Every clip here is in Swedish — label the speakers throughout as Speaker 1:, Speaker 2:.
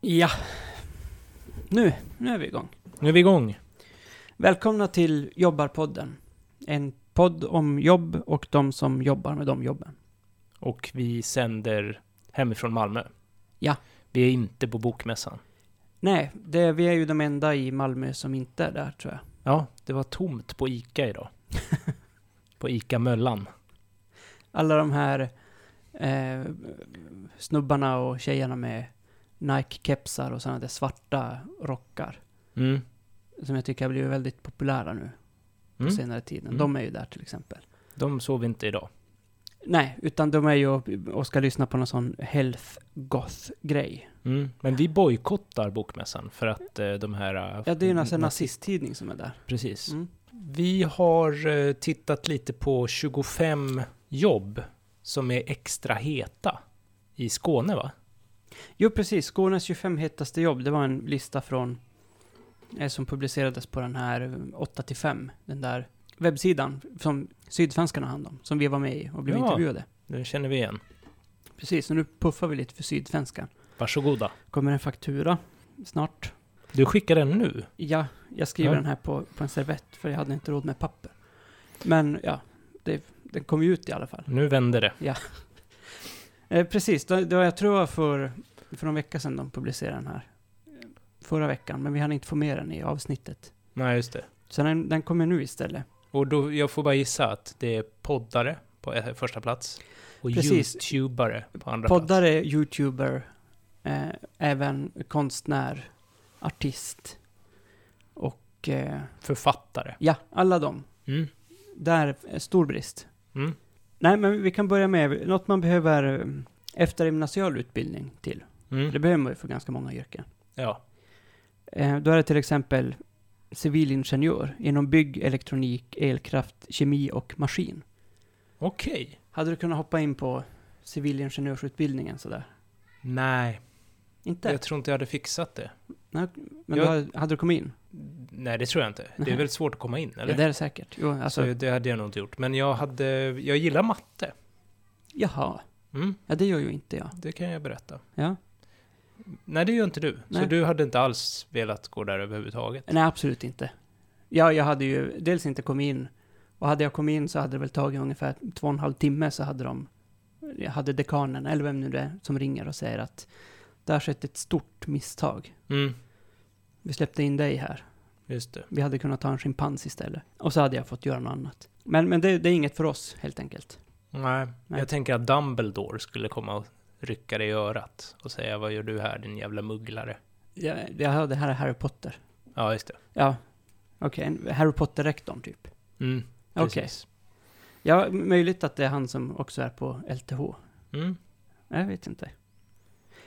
Speaker 1: Ja. Nu, nu är vi igång.
Speaker 2: Nu är vi igång.
Speaker 1: Välkomna till Jobbarpodden. En podd om jobb och de som jobbar med de jobben.
Speaker 2: Och vi sänder hemifrån Malmö.
Speaker 1: Ja.
Speaker 2: Vi är inte på bokmässan.
Speaker 1: Nej, det, vi är ju de enda i Malmö som inte är där tror jag.
Speaker 2: Ja, det var tomt på ICA idag. på ICA Möllan.
Speaker 1: Alla de här eh, snubbarna och tjejerna med Nike-kepsar och sådana där svarta rockar.
Speaker 2: Mm.
Speaker 1: Som jag tycker har blivit väldigt populära nu på
Speaker 2: Mm.
Speaker 1: senare tiden.
Speaker 2: Mm.
Speaker 1: De är ju där till exempel.
Speaker 2: De sov inte idag.
Speaker 1: Nej, utan de är ju och- och ska lyssna på någon sån health goth-grej.
Speaker 2: Mm. Men vi bojkottar bokmässan för att eh, de här... eh,
Speaker 1: Ja, det är ju en
Speaker 2: na-
Speaker 1: sån nazisttidning som är där.
Speaker 2: Precis.
Speaker 1: Mm.
Speaker 2: Vi har eh, tittat lite på 25 jobb som är extra heta i Skåne, va?
Speaker 1: Jo, precis. Skånes 25 hetaste jobb, det var en lista från eh, som publicerades på den här 8 till 5, den där webbsidan som Sydsvenskarna hand om, som vi var med i och blev
Speaker 2: Ja.
Speaker 1: intervjuade.
Speaker 2: Den känner vi igen.
Speaker 1: Precis, och nu puffar vi lite för Sydsvenskan.
Speaker 2: Varsågoda.
Speaker 1: Kommer en faktura snart?
Speaker 2: Du skickar den nu.
Speaker 1: Ja, jag skriver
Speaker 2: Ja.
Speaker 1: den här på, på en servett för jag hade inte råd med papper. Men ja, det, den kom ju ut i alla fall.
Speaker 2: Nu vänder det.
Speaker 1: Eh, precis, det, det var, jag tror det var för, för en vecka sedan de publicerade den här. Eh, Förra veckan, men vi hann inte få med den i avsnittet.
Speaker 2: Nej, just det.
Speaker 1: Så den, den kommer nu istället.
Speaker 2: Och då, jag får bara gissa att det är poddare på eh, första plats. Och
Speaker 1: Precis.
Speaker 2: youtubare på andra plats.
Speaker 1: Poddare, youtuber, eh, även konstnär, artist och eh,
Speaker 2: Författare.
Speaker 1: ja, alla dem.
Speaker 2: Mm.
Speaker 1: Där, är stor brist.
Speaker 2: Mm.
Speaker 1: Nej, men vi kan börja med något man behöver eh, eftergymnasial utbildning till. Det
Speaker 2: Mm.
Speaker 1: behöver man ju för ganska många yrken.
Speaker 2: Ja.
Speaker 1: Eh, Då är det till exempel civilingenjör inom bygg, elektronik, elkraft, kemi och maskin.
Speaker 2: Okej.
Speaker 1: Hade du kunnat hoppa in på civilingenjörsutbildningen sådär?
Speaker 2: Nej,
Speaker 1: Inte?
Speaker 2: jag tror inte jag hade fixat det.
Speaker 1: Men
Speaker 2: jag-
Speaker 1: då hade- hade du kommit in?
Speaker 2: Nej, det tror jag inte. Det
Speaker 1: Nej.
Speaker 2: är väldigt svårt att komma in, eller?
Speaker 1: Ja, det är det säkert. Jo, alltså,
Speaker 2: Så det hade jag nog inte gjort. Men jag, hade, jag gillar matte.
Speaker 1: jaha.
Speaker 2: Mm,
Speaker 1: Ja, det gör ju inte jag.
Speaker 2: det kan jag berätta.
Speaker 1: Ja.
Speaker 2: Nej, det gör inte du.
Speaker 1: Nej.
Speaker 2: Så du hade inte alls velat gå där överhuvudtaget.
Speaker 1: Nej, absolut inte. Ja, jag hade ju dels inte kommit in. Och hade jag kommit in så hade det väl tagit ungefär två och en halv timme så hade de, hade dekanen, eller vem nu det är, som ringer och säger att det har skett ett stort misstag.
Speaker 2: Mm,
Speaker 1: Vi släppte in dig här.
Speaker 2: just det.
Speaker 1: Vi hade kunnat ta en schimpans istället. Och så hade jag fått göra något annat. Men, men det, det är inget för oss, helt enkelt.
Speaker 2: Nej,
Speaker 1: Nej.
Speaker 2: jag tänker att Dumbledore skulle komma och rycka dig i örat och säga vad gör du här din jävla mugglare?
Speaker 1: Jag, jag hör det här är Harry Potter.
Speaker 2: Ja, just det.
Speaker 1: Ja, okej. en Harry Potter-rektorn, typ.
Speaker 2: Mm,
Speaker 1: Okej.
Speaker 2: precis.
Speaker 1: Ja, m- möjligt att det är han som också är på LTH.
Speaker 2: Mm.
Speaker 1: Jag vet inte.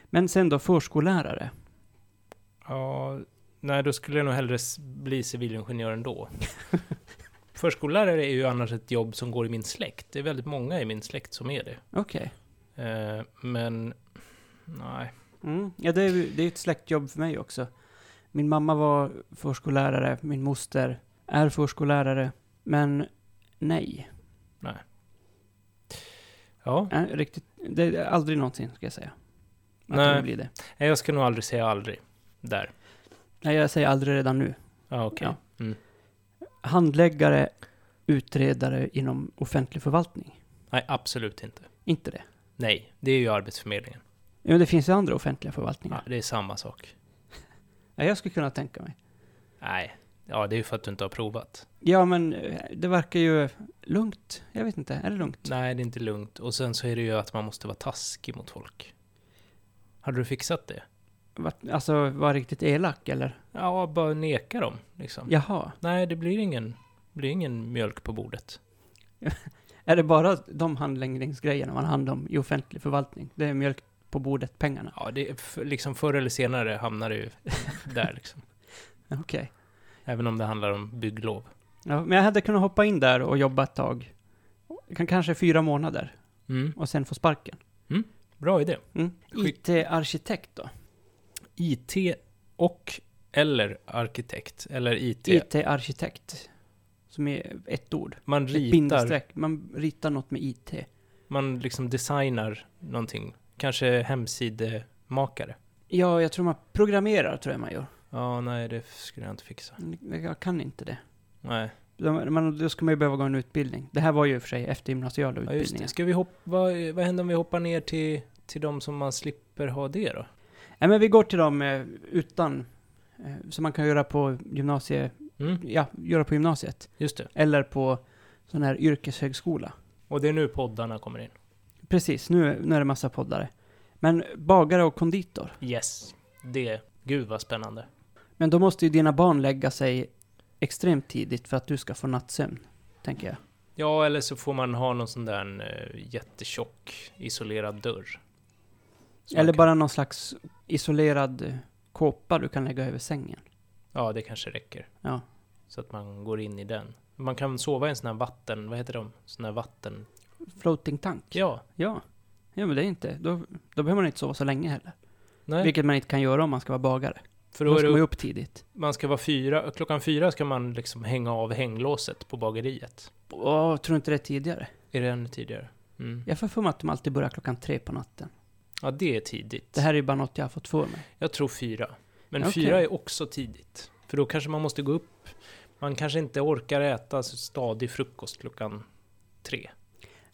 Speaker 1: Men sen då, förskollärare.
Speaker 2: Ja, nej, då skulle jag nog hellre s- bli civilingenjör ändå. Förskollärare är ju annars ett jobb som går i min släkt. Det är väldigt många i min släkt som är det.
Speaker 1: Okej.
Speaker 2: Eh, men, nej.
Speaker 1: Mm. Ja, det är, ju- det är ett släktjobb för mig också. Min mamma var förskollärare, min moster är förskollärare. Men nej,
Speaker 2: Ja,
Speaker 1: Nej, Eh, riktigt, det är aldrig någonsin, ska jag säga. Att
Speaker 2: Nej.
Speaker 1: det blir det.
Speaker 2: nej, jag ska nog aldrig säga aldrig. Där.
Speaker 1: Nej, jag säger aldrig redan nu.
Speaker 2: Ja, okej.
Speaker 1: Ja.
Speaker 2: Mm.
Speaker 1: Handläggare, utredare inom offentlig förvaltning.
Speaker 2: Nej, absolut inte.
Speaker 1: Inte det.
Speaker 2: Nej, det är ju Arbetsförmedlingen.
Speaker 1: Jo, men det finns ju andra offentliga förvaltningar.
Speaker 2: Ja, det är samma sak.
Speaker 1: Ja, jag skulle kunna tänka mig.
Speaker 2: Nej, ja, det är ju för att du inte har provat.
Speaker 1: Ja, men eh, det verkar ju lugnt. Jag vet inte, är det lugnt?
Speaker 2: Nej, det är inte lugnt. Och sen så är det ju att man måste vara taskig mot folk. Hade du fixat det?
Speaker 1: Vart- Alltså, var riktigt elak eller?
Speaker 2: Ja, bara neka dem, liksom.
Speaker 1: Jaha.
Speaker 2: Nej, det blir ingen, blir ingen mjölk på bordet.
Speaker 1: Är det bara de handläggningsgrejerna man handlar om i offentlig förvaltning? Det är mjölk på bordet, pengarna.
Speaker 2: Ja, det är f- liksom förr eller senare hamnar det ju där, liksom.
Speaker 1: Okej.
Speaker 2: Även om det handlar om bygglov.
Speaker 1: Ja, men jag hade kunnat hoppa in där och jobba ett tag. Kan- Kanske fyra månader
Speaker 2: Mm,
Speaker 1: och sen få sparken.
Speaker 2: bra idé.
Speaker 1: Mm.
Speaker 2: Skick-
Speaker 1: IT-arkitekt då?
Speaker 2: IT och eller arkitekt, eller IT.
Speaker 1: IT-arkitekt. Som är ett ord.
Speaker 2: Man
Speaker 1: Ett
Speaker 2: ritar,
Speaker 1: bindestreck. Man ritar något med IT.
Speaker 2: man liksom designar någonting. Kanske hemsidemakare.
Speaker 1: Ja, jag tror man programmerar, tror jag man gör.
Speaker 2: Ja, nej, det skulle jag inte fixa.
Speaker 1: Jag kan inte det.
Speaker 2: Nej.
Speaker 1: Då- Man, då ska man ju behöva gå en utbildning. Det här var ju i och för sig eftergymnasiala
Speaker 2: Ja, just det.
Speaker 1: utbildningar.
Speaker 2: Ska vi hoppa... Vad, vad händer om vi hoppar ner till, till de som man slipper ha det då?
Speaker 1: Nej, men vi går till dem eh, utan, eh, som man kan göra på gymnasie,
Speaker 2: Mm,
Speaker 1: ja, göra på gymnasiet.
Speaker 2: just det.
Speaker 1: Eller på sån här yrkeshögskola.
Speaker 2: Och det är nu poddarna kommer in.
Speaker 1: Precis, nu, nu är det massa poddare. Men bagare och konditor.
Speaker 2: Yes. Det. Gud vad spännande.
Speaker 1: Men då måste ju dina barn lägga sig extremt tidigt för att du ska få nattsömn, tänker jag.
Speaker 2: Ja, eller så får man ha någon sån där eh, jättetjock isolerad dörr. Så
Speaker 1: Eller
Speaker 2: man kan-
Speaker 1: bara någon slags isolerad eh, kåpa du kan lägga över sängen.
Speaker 2: Ja, det kanske räcker.
Speaker 1: Ja.
Speaker 2: Så att man går in i den. Man kan sova i en sån här vatten... Vad heter de? Sån här vatten...
Speaker 1: Floating tank.
Speaker 2: Ja.
Speaker 1: Ja. Ja, men det är inte... Då, då behöver man inte sova så länge heller.
Speaker 2: Nej.
Speaker 1: Vilket man inte kan göra om man ska vara bagare.
Speaker 2: för
Speaker 1: Då
Speaker 2: då är
Speaker 1: ska man
Speaker 2: det,
Speaker 1: ju
Speaker 2: upp-
Speaker 1: upp tidigt.
Speaker 2: man ska vara fyra... Klockan fyra ska man liksom hänga av hänglåset på bageriet.
Speaker 1: Åh, tror du inte det är tidigare?
Speaker 2: Är det ännu tidigare? Mm.
Speaker 1: Jag får för mig att de alltid börjar klockan tre på natten.
Speaker 2: Ja, det är tidigt.
Speaker 1: Det här är ju bara något jag har fått för mig.
Speaker 2: Jag tror fyra. Men
Speaker 1: Okej.
Speaker 2: fyra är också tidigt. För då kanske man måste gå upp. Man kanske inte orkar äta så stadig frukost klockan tre.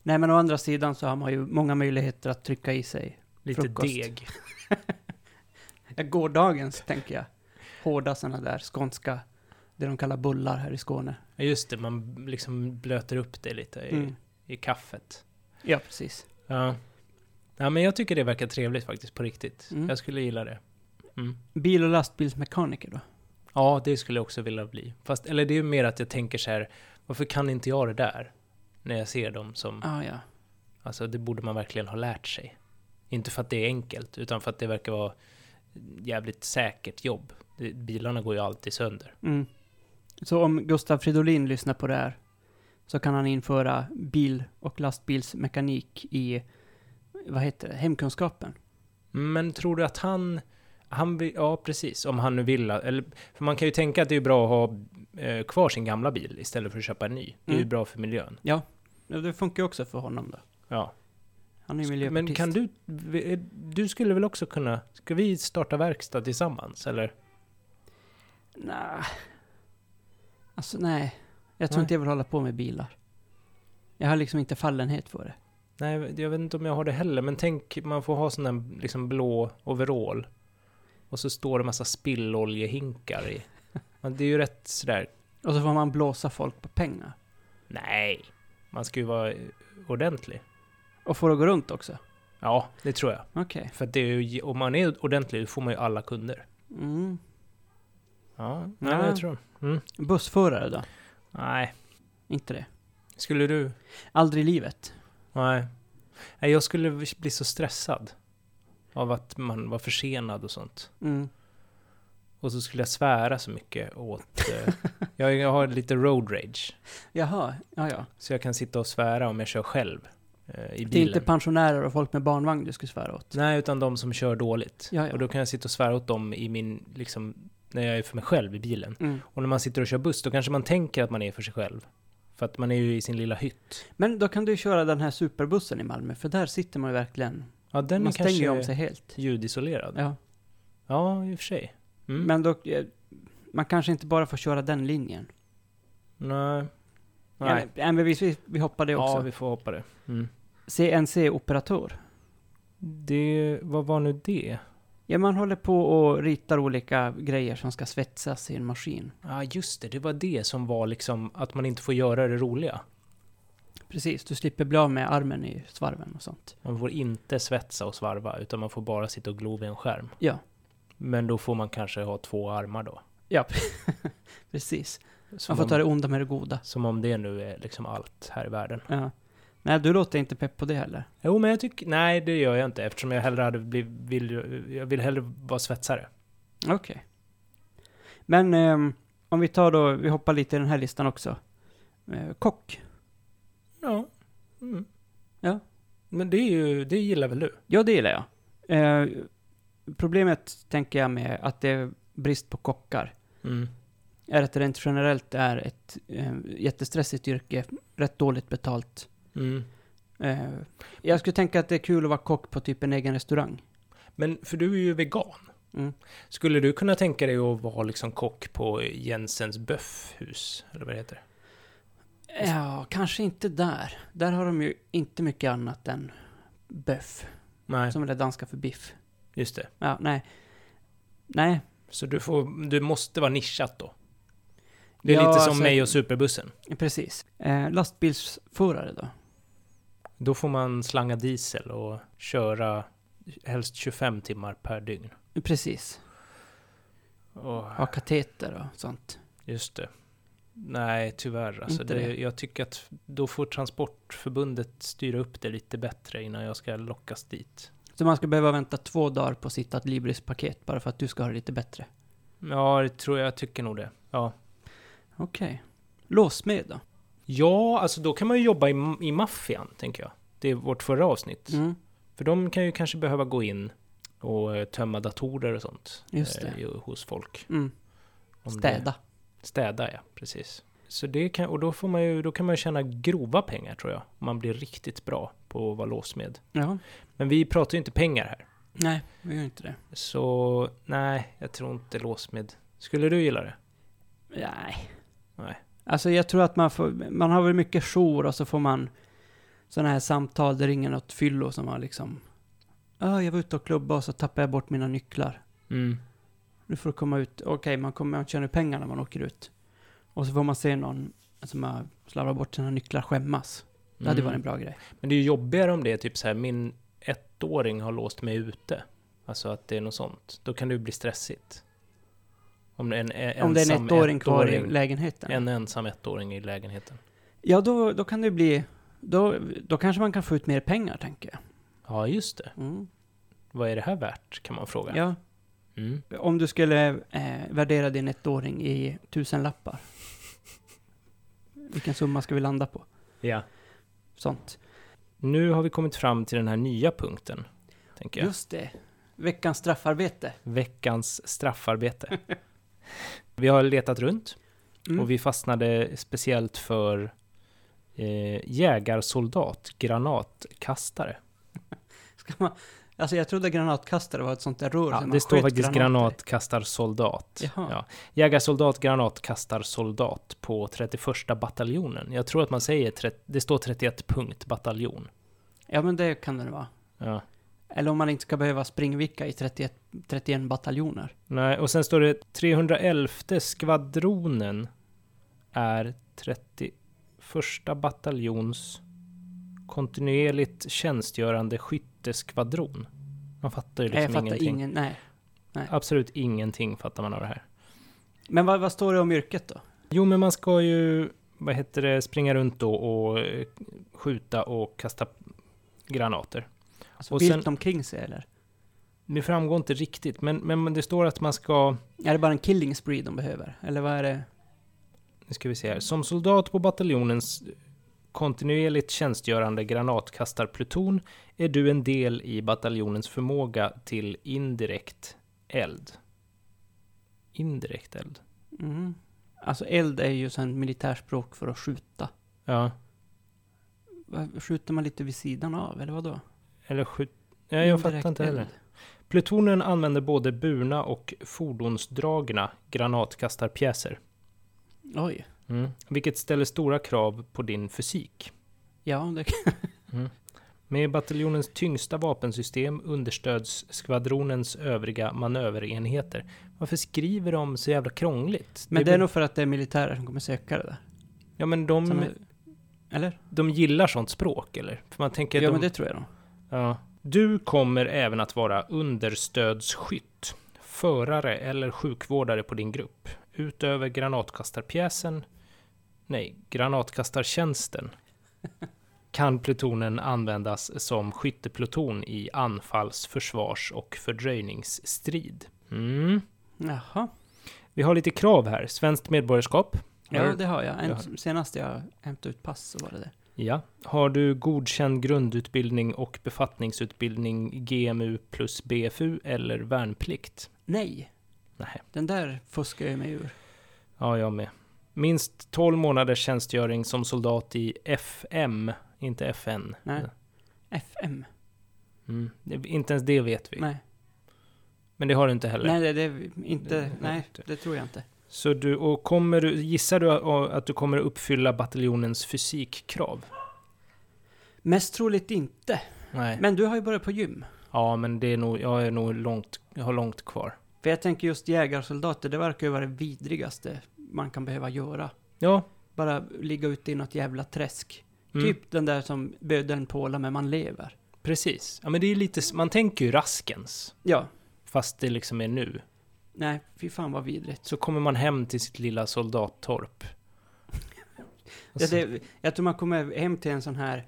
Speaker 1: Nej, men å andra sidan så har man ju många möjligheter att trycka i sig
Speaker 2: Lite
Speaker 1: Frukost.
Speaker 2: deg.
Speaker 1: Ja, Gårdagens, tänker jag. Hårda sådana där skånska, det de kallar bullar här i Skåne.
Speaker 2: Ja, just det, man liksom blöter upp det lite i,
Speaker 1: Mm.
Speaker 2: i kaffet.
Speaker 1: Ja, precis.
Speaker 2: Ja. ja, men jag tycker det verkar trevligt faktiskt, på riktigt.
Speaker 1: Mm.
Speaker 2: Jag skulle gilla det. Mm.
Speaker 1: Bil och lastbilsmekaniker då?
Speaker 2: Ja, det skulle jag också vilja bli. Fast, eller det är ju mer att jag tänker så här, varför kan inte jag det där? När jag ser dem som,
Speaker 1: Ah, ja.
Speaker 2: alltså det borde man verkligen ha lärt sig. Inte för att det är enkelt, utan för att det verkar vara jävligt säkert jobb. Det- Bilarna går ju alltid sönder.
Speaker 1: Mm. Så om Gustav Fridolin lyssnar på det här så kan han införa bil och lastbilsmekanik i, vad heter det, hemkunskapen?
Speaker 2: Men tror du att han... han vill, ja, precis. Om han nu vill. Eller, för man kan ju tänka att det är bra att ha eh, kvar sin gamla bil istället för att köpa en ny. Det är ju
Speaker 1: Mm.
Speaker 2: bra för miljön.
Speaker 1: Ja, det funkar ju också för honom då.
Speaker 2: Ja.
Speaker 1: Han är ju miljöpartist.
Speaker 2: Men kan du... eh, Du skulle väl också kunna... Ska vi starta verkstad tillsammans, eller?
Speaker 1: Nej. Alltså nej. Jag tror
Speaker 2: Nej.
Speaker 1: inte jag vill hålla på med bilar. Jag har liksom inte fallenhet för det.
Speaker 2: Nej, jag vet inte om jag har det heller, men tänk man får ha sån där liksom blå overall. Och så står det massa spilloljehinkar i. Men det är ju rätt sådär...
Speaker 1: Och så får man blåsa folk på pengar.
Speaker 2: Nej! Man ska ju vara eh, ordentlig.
Speaker 1: Och får det gå runt också.
Speaker 2: Ja, det tror jag.
Speaker 1: Okej.
Speaker 2: För att det är ju, om man är ordentlig då får man ju alla kunder.
Speaker 1: Mm.
Speaker 2: Ja,
Speaker 1: nej, men jag
Speaker 2: tror
Speaker 1: Bussförare då?
Speaker 2: Nej.
Speaker 1: Inte det.
Speaker 2: Skulle du?
Speaker 1: Aldrig i livet.
Speaker 2: Nej. Nej, jag skulle bli så stressad. Av att man var försenad och sånt.
Speaker 1: Mm.
Speaker 2: Och så skulle jag svära så mycket åt... eh, jag, jag har lite road rage.
Speaker 1: Jaha, ja ja.
Speaker 2: Så jag kan sitta och svära om jag kör själv. Eh, I
Speaker 1: Det är
Speaker 2: bilen.
Speaker 1: inte pensionärer och folk med barnvagn du skulle svära åt.
Speaker 2: Nej, utan de som kör dåligt.
Speaker 1: Ja, ja.
Speaker 2: Och då kan jag sitta och svära åt dem i min, liksom, när jag är för mig själv i bilen.
Speaker 1: Mm.
Speaker 2: Och när man sitter och kör buss, då kanske man tänker att man är för sig själv. För att man är ju i sin lilla hytt.
Speaker 1: Men då kan du ju köra den här superbussen i Malmö, för där sitter man ju verkligen...
Speaker 2: Ja, den
Speaker 1: man
Speaker 2: är
Speaker 1: stänger ju
Speaker 2: kanske
Speaker 1: om sig helt.
Speaker 2: ljudisolerad. Ja.
Speaker 1: Ja.
Speaker 2: i och för sig. Mm.
Speaker 1: Men då... eh, Man kanske inte bara får köra den linjen.
Speaker 2: Nej. Nej.
Speaker 1: Nej. Ja, men vi, vi, vi hoppar det också.
Speaker 2: Ja, vi får hoppa det. Mm.
Speaker 1: CNC-operatör.
Speaker 2: Det, vad var nu det?
Speaker 1: Ja, man håller på och ritar olika grejer som ska svetsas i en maskin.
Speaker 2: Ja, ah, just det. Det var det som var liksom att man inte får göra det roliga.
Speaker 1: Precis, du slipper bli av med armen i svarven och sånt.
Speaker 2: Man får inte svetsa och svarva, utan man får bara sitta och glo vid en skärm.
Speaker 1: Ja,
Speaker 2: Men då får man kanske ha två armar då.
Speaker 1: precis.
Speaker 2: Som,
Speaker 1: Man får ta det
Speaker 2: om,
Speaker 1: onda med det goda.
Speaker 2: som om det nu är liksom allt här i världen.
Speaker 1: Ja. Nej, du låter inte pepp på det heller.
Speaker 2: Jo, men jag tycker... Nej, det gör jag inte eftersom jag hellre hade blivit... Vill, jag vill hellre vara svetsare.
Speaker 1: Okej. Men ehm, om vi tar då, vi hoppar lite i den här listan också. Eh, kock.
Speaker 2: Ja. Mm.
Speaker 1: Ja.
Speaker 2: Men det är ju, det gillar väl du?
Speaker 1: Ja, det gillar jag. Eh, problemet, tänker jag, med att det är brist på kockar
Speaker 2: Mm.
Speaker 1: är att det rent generellt är ett eh, jättestressigt yrke, rätt dåligt betalt.
Speaker 2: Mm.
Speaker 1: Eh, jag skulle tänka att det är kul att vara kock på typ en egen restaurang.
Speaker 2: Men för du är ju vegan.
Speaker 1: Mm.
Speaker 2: Skulle du kunna tänka dig att vara liksom kock på Jensens böffhus? Eller vad det heter?
Speaker 1: Ja, kanske inte där. Där har de ju inte mycket annat än böff,
Speaker 2: Nej,
Speaker 1: som är det danska för biff.
Speaker 2: just det.
Speaker 1: Ja, nej. Nej,
Speaker 2: Så du, får, du måste vara nischat då? Det är
Speaker 1: Ja,
Speaker 2: lite som
Speaker 1: alltså-
Speaker 2: mig och superbussen.
Speaker 1: precis. Eh, lastbilsförare då?
Speaker 2: Då får man slanga diesel och köra helst 25 timmar per dygn.
Speaker 1: Precis.
Speaker 2: Åh,
Speaker 1: Ha kateter och sånt.
Speaker 2: Just det. Nej, tyvärr. Alltså,
Speaker 1: Inte
Speaker 2: det,
Speaker 1: det.
Speaker 2: Jag tycker att då får Transportförbundet styra upp det lite bättre innan jag ska lockas dit.
Speaker 1: Så man ska behöva vänta två dagar på sitt Adlibris-paket bara för att du ska ha det lite bättre.
Speaker 2: Ja, det tror jag, jag tycker nog det. Ja.
Speaker 1: Okej. Låsmed då?
Speaker 2: ja, alltså då kan man ju jobba i, i maffian, tänker jag. Det är vårt förra avsnitt.
Speaker 1: Mm.
Speaker 2: För de kan ju kanske behöva gå in och eh, tömma datorer och sånt
Speaker 1: Just
Speaker 2: eh,
Speaker 1: det.
Speaker 2: ju- hos folk.
Speaker 1: Mm.
Speaker 2: Om
Speaker 1: Städa.
Speaker 2: Det, städa, ja. Precis. Så det kan, och då, får man ju, då kan man ju tjäna grova pengar, tror jag. Om man blir riktigt bra på att vara låsmed.
Speaker 1: Ja.
Speaker 2: Men vi pratar ju inte pengar här.
Speaker 1: Nej, vi gör inte det.
Speaker 2: Så nej, jag tror inte låsmed. Skulle du gilla det?
Speaker 1: Nej.
Speaker 2: Nej.
Speaker 1: Alltså jag tror att man får, man har väl mycket jour och så får man sådana här samtal, det ringer något fyllo som har liksom, ah, jag var ute och klubbade och så tappade jag bort mina nycklar. Nu får du komma ut, okej man kommer att tjäna pengar när man åker ut. Och så får man se någon som har slarvat bort sina nycklar skämmas. Det hade ju varit en bra grej.
Speaker 2: Mm. Men det är ju jobbigare om det är typ så här, min ettåring har låst mig ute. Alltså att det är något sånt. Då kan det ju bli stressigt. Om det är en, en
Speaker 1: Om det är en
Speaker 2: ensam
Speaker 1: ettåring kvar i
Speaker 2: ettåring-
Speaker 1: lägenheten.
Speaker 2: En ensam ettåring i lägenheten.
Speaker 1: Ja, då, då kan det ju bli, då, då kanske man kan få ut mer pengar tänker jag.
Speaker 2: Ja, just det.
Speaker 1: Mm.
Speaker 2: Vad är det här värt, kan man fråga.
Speaker 1: Ja.
Speaker 2: Mm.
Speaker 1: Om du skulle eh, värdera din ettåring i tusen lappar. Vilken summa ska vi landa på?
Speaker 2: ja.
Speaker 1: Sånt.
Speaker 2: Nu har vi kommit fram till den här nya punkten, tänker jag.
Speaker 1: Just det. Veckans straffarbete.
Speaker 2: Veckans straffarbete. vi har letat runt.
Speaker 1: Mm.
Speaker 2: Och vi fastnade speciellt för eh, jägarsoldat, granatkastare.
Speaker 1: Ska man... Alltså jag trodde granatkastare var ett sånt där rör.
Speaker 2: Ja,
Speaker 1: som man
Speaker 2: det står
Speaker 1: sköt
Speaker 2: faktiskt
Speaker 1: granater i.
Speaker 2: granatkastarsoldat.
Speaker 1: Jaha.
Speaker 2: Ja. Jägarsoldat, granatkastarsoldat på 31 bataljonen. Jag tror att man säger, tret- det står 31 punkt bataljon.
Speaker 1: Ja, men det kan det vara.
Speaker 2: Ja.
Speaker 1: Eller om man inte ska behöva springvicka i 31, 31 bataljoner.
Speaker 2: Nej, och sen står det 311 skvadronen är 31 bataljons kontinuerligt tjänstgörande skytteskvadron. Man fattar ju
Speaker 1: Nej, jag
Speaker 2: liksom
Speaker 1: fattar
Speaker 2: ingenting.
Speaker 1: ingen. Nej.
Speaker 2: Absolut ingenting fattar man av det här.
Speaker 1: Men vad, vad står det om yrket då?
Speaker 2: Jo, men man ska ju, vad heter det, springa runt då och eh, skjuta och kasta granater.
Speaker 1: Alltså
Speaker 2: Och
Speaker 1: vilt
Speaker 2: sen-
Speaker 1: omkring sig eller?
Speaker 2: Det framgår inte riktigt, men, men det står att man ska
Speaker 1: Är det bara en killing spree de behöver? Eller vad är det?
Speaker 2: Nu ska vi se här. Som soldat på bataljonens kontinuerligt tjänstgörande granatkastarpluton är du en del i bataljonens förmåga till indirekt eld. Indirekt eld?
Speaker 1: Mm. Alltså eld är ju sån militärspråk för att skjuta.
Speaker 2: Ja.
Speaker 1: Va- Skjuter man lite vid sidan av, eller vadå?
Speaker 2: Eller skjut... Ja, jag fattar
Speaker 1: Indirekt
Speaker 2: inte heller.
Speaker 1: eld.
Speaker 2: Plutonen använder både burna och fordonsdragna granatkastarpjäser.
Speaker 1: Oj.
Speaker 2: Mm. Vilket ställer stora krav på din fysik.
Speaker 1: Ja, det,
Speaker 2: Med bataljonens tyngsta vapensystem understöds skvadronens övriga manöverenheter. Varför skriver de så jävla krångligt?
Speaker 1: men det är nog för att det är militärer som kommer söka det där.
Speaker 2: Ja, men
Speaker 1: Som,
Speaker 2: de,
Speaker 1: eller?
Speaker 2: de gillar sånt språk, eller? För man tänker att
Speaker 1: Ja,
Speaker 2: de...
Speaker 1: men det tror jag nog.
Speaker 2: Ja. Du kommer även att vara understödsskytt, förare eller sjukvårdare på din grupp. Utöver granatkastarpjäsen, nej, granatkastartjänsten, kan plutonen användas som skyttepluton i anfalls-, försvars och fördröjningsstrid. Mm.
Speaker 1: Jaha.
Speaker 2: Vi har lite krav här. Svenskt medborgarskap.
Speaker 1: Ja,
Speaker 2: Har-
Speaker 1: det har jag.
Speaker 2: Ja.
Speaker 1: En, senast jag hämtade ut pass så var det det.
Speaker 2: Ja. Har du godkänd grundutbildning och befattningsutbildning GMU plus BFU eller värnplikt?
Speaker 1: Nej,
Speaker 2: Nej.
Speaker 1: den där fuskar jag mig ur.
Speaker 2: Ja, jag med. Minst 12 månaders tjänstgöring som soldat i FM, inte FN.
Speaker 1: Nej. FM.
Speaker 2: Mm. Det- Inte ens det vet vi.
Speaker 1: Nej.
Speaker 2: Men det har du inte heller?
Speaker 1: Nej, det, det är inte,
Speaker 2: Det-
Speaker 1: nej, det tror jag inte.
Speaker 2: Så du, och kommer du, gissar du a- att du kommer att uppfylla bataljonens fysikkrav?
Speaker 1: Mest troligt inte.
Speaker 2: Nej.
Speaker 1: Men du har ju börjat på gym.
Speaker 2: Ja, men det är nog, jag är nog långt, jag har långt kvar.
Speaker 1: För jag tänker just jägarsoldater, det verkar ju vara det vidrigaste man kan behöva göra.
Speaker 2: Ja.
Speaker 1: Bara ligga ute i något jävla träsk.
Speaker 2: Mm,
Speaker 1: Typ den där som bödeln pålar men man lever.
Speaker 2: Precis. Ja, men det är lite, s- man tänker ju Raskens,
Speaker 1: Ja.
Speaker 2: fast det liksom är nu.
Speaker 1: Nej, fy fan vad vidrigt.
Speaker 2: Så kommer man hem till sitt lilla soldattorp.
Speaker 1: Ja, det, jag tror man kommer hem till en sån här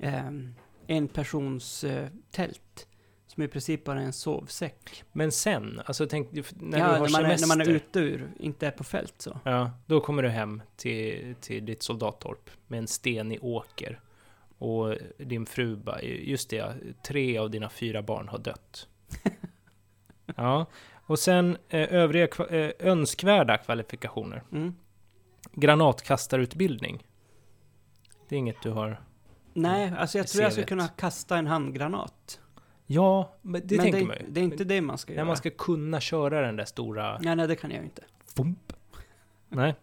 Speaker 1: ehm, enpersons eh, tält. Som i princip bara är en sovsäck.
Speaker 2: Men sen, alltså tänk, när
Speaker 1: ja,
Speaker 2: du
Speaker 1: när,
Speaker 2: har
Speaker 1: man är, när
Speaker 2: semester,
Speaker 1: man är ute ur, inte är på fält så.
Speaker 2: ja, då kommer du hem till, till ditt soldattorp med en stenig åker. Och din fru bara, just det, ja, tre av dina fyra barn har dött. ja, och sen eh, övriga kva- eh, önskvärda kvalifikationer.
Speaker 1: Mm.
Speaker 2: Granatkastarutbildning. Det är inget du har...
Speaker 1: Nej, alltså jag tror jag skulle
Speaker 2: CV:t.
Speaker 1: kunna kasta en handgranat.
Speaker 2: Ja, men det
Speaker 1: men
Speaker 2: tänker
Speaker 1: det, är-
Speaker 2: man ju.
Speaker 1: det är inte det man ska
Speaker 2: Men
Speaker 1: göra.
Speaker 2: När man ska Eh, kunna köra den där stora...
Speaker 1: Nej, nej, det kan jag ju inte.
Speaker 2: Fump. Nej.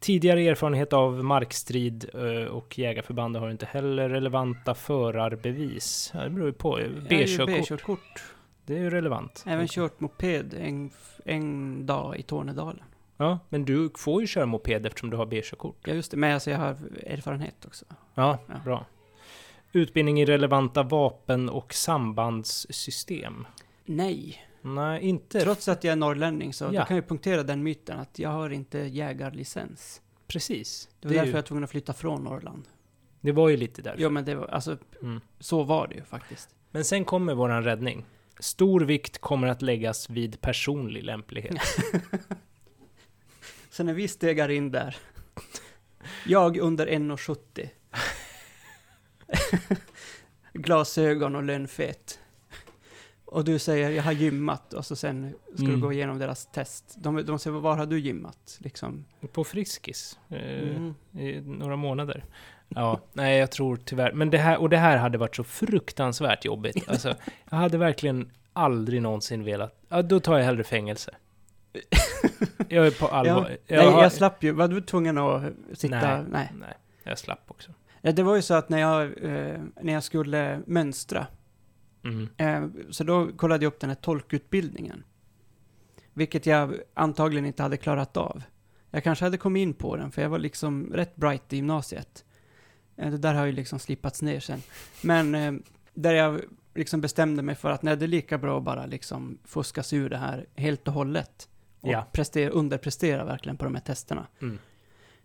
Speaker 2: Tidigare erfarenhet av markstrid eh, och jägarförband har inte heller relevanta förarbevis. Ja, Det beror ju på.
Speaker 1: Jag är ju
Speaker 2: B-körkort,
Speaker 1: B-körkort.
Speaker 2: det är ju relevant.
Speaker 1: Även kört moped en, en dag i Tornedalen.
Speaker 2: Ja, men du får ju köra moped eftersom du har B-körkort.
Speaker 1: Ja, just det. Men alltså, jag har erfarenhet också.
Speaker 2: Ja,
Speaker 1: Ja.
Speaker 2: bra. Utbildning i relevanta vapen och sambandssystem.
Speaker 1: Nej.
Speaker 2: Nej, inte
Speaker 1: Trots att jag är norrlänning så
Speaker 2: Ja.
Speaker 1: då kan jag punktera den myten att jag har inte jägarlicens.
Speaker 2: precis.
Speaker 1: Det var
Speaker 2: är
Speaker 1: därför
Speaker 2: ju,
Speaker 1: jag var tvungen att flytta från Norrland.
Speaker 2: det var ju lite därför.
Speaker 1: Ja, men det var, alltså,
Speaker 2: Mm.
Speaker 1: så var det ju faktiskt.
Speaker 2: Men sen kommer våran räddning. Stor vikt kommer att läggas vid personlig lämplighet.
Speaker 1: Så när vi stegar in där, jag under 1,70. Glasögon och lönnfet. Och du säger, jag har gymmat, och så sen ska
Speaker 2: Mm.
Speaker 1: du gå igenom deras test. De, de säger, var har du gymmat? Liksom.
Speaker 2: På Friskis. Eh,
Speaker 1: Mm.
Speaker 2: I några månader. Ja, nej jag tror tyvärr. Men det här, och det här hade varit så fruktansvärt jobbigt. Alltså, jag hade verkligen aldrig någonsin velat. Ja, då tar jag hellre fängelse. Jag är på allvar. jag
Speaker 1: Nej,
Speaker 2: har-
Speaker 1: jag slapp ju. Var du tvungen att sitta?
Speaker 2: Nej.
Speaker 1: Nej.
Speaker 2: nej, jag slapp också.
Speaker 1: Ja, Det var ju så att när jag, eh, när jag skulle mönstra,
Speaker 2: Mm.
Speaker 1: Eh, Så då kollade jag upp den här tolkutbildningen. Vilket jag antagligen inte hade klarat av. Jag kanske hade kommit in på den, för jag var liksom rätt bright i gymnasiet. Eh, Det där har ju liksom slipats ner sen. Men eh, där jag liksom bestämde mig för att nej, det är lika bra att bara liksom fuska sig ur det här helt och hållet. Och
Speaker 2: Ja.
Speaker 1: prestera, underprestera verkligen på de här testerna.
Speaker 2: Mm.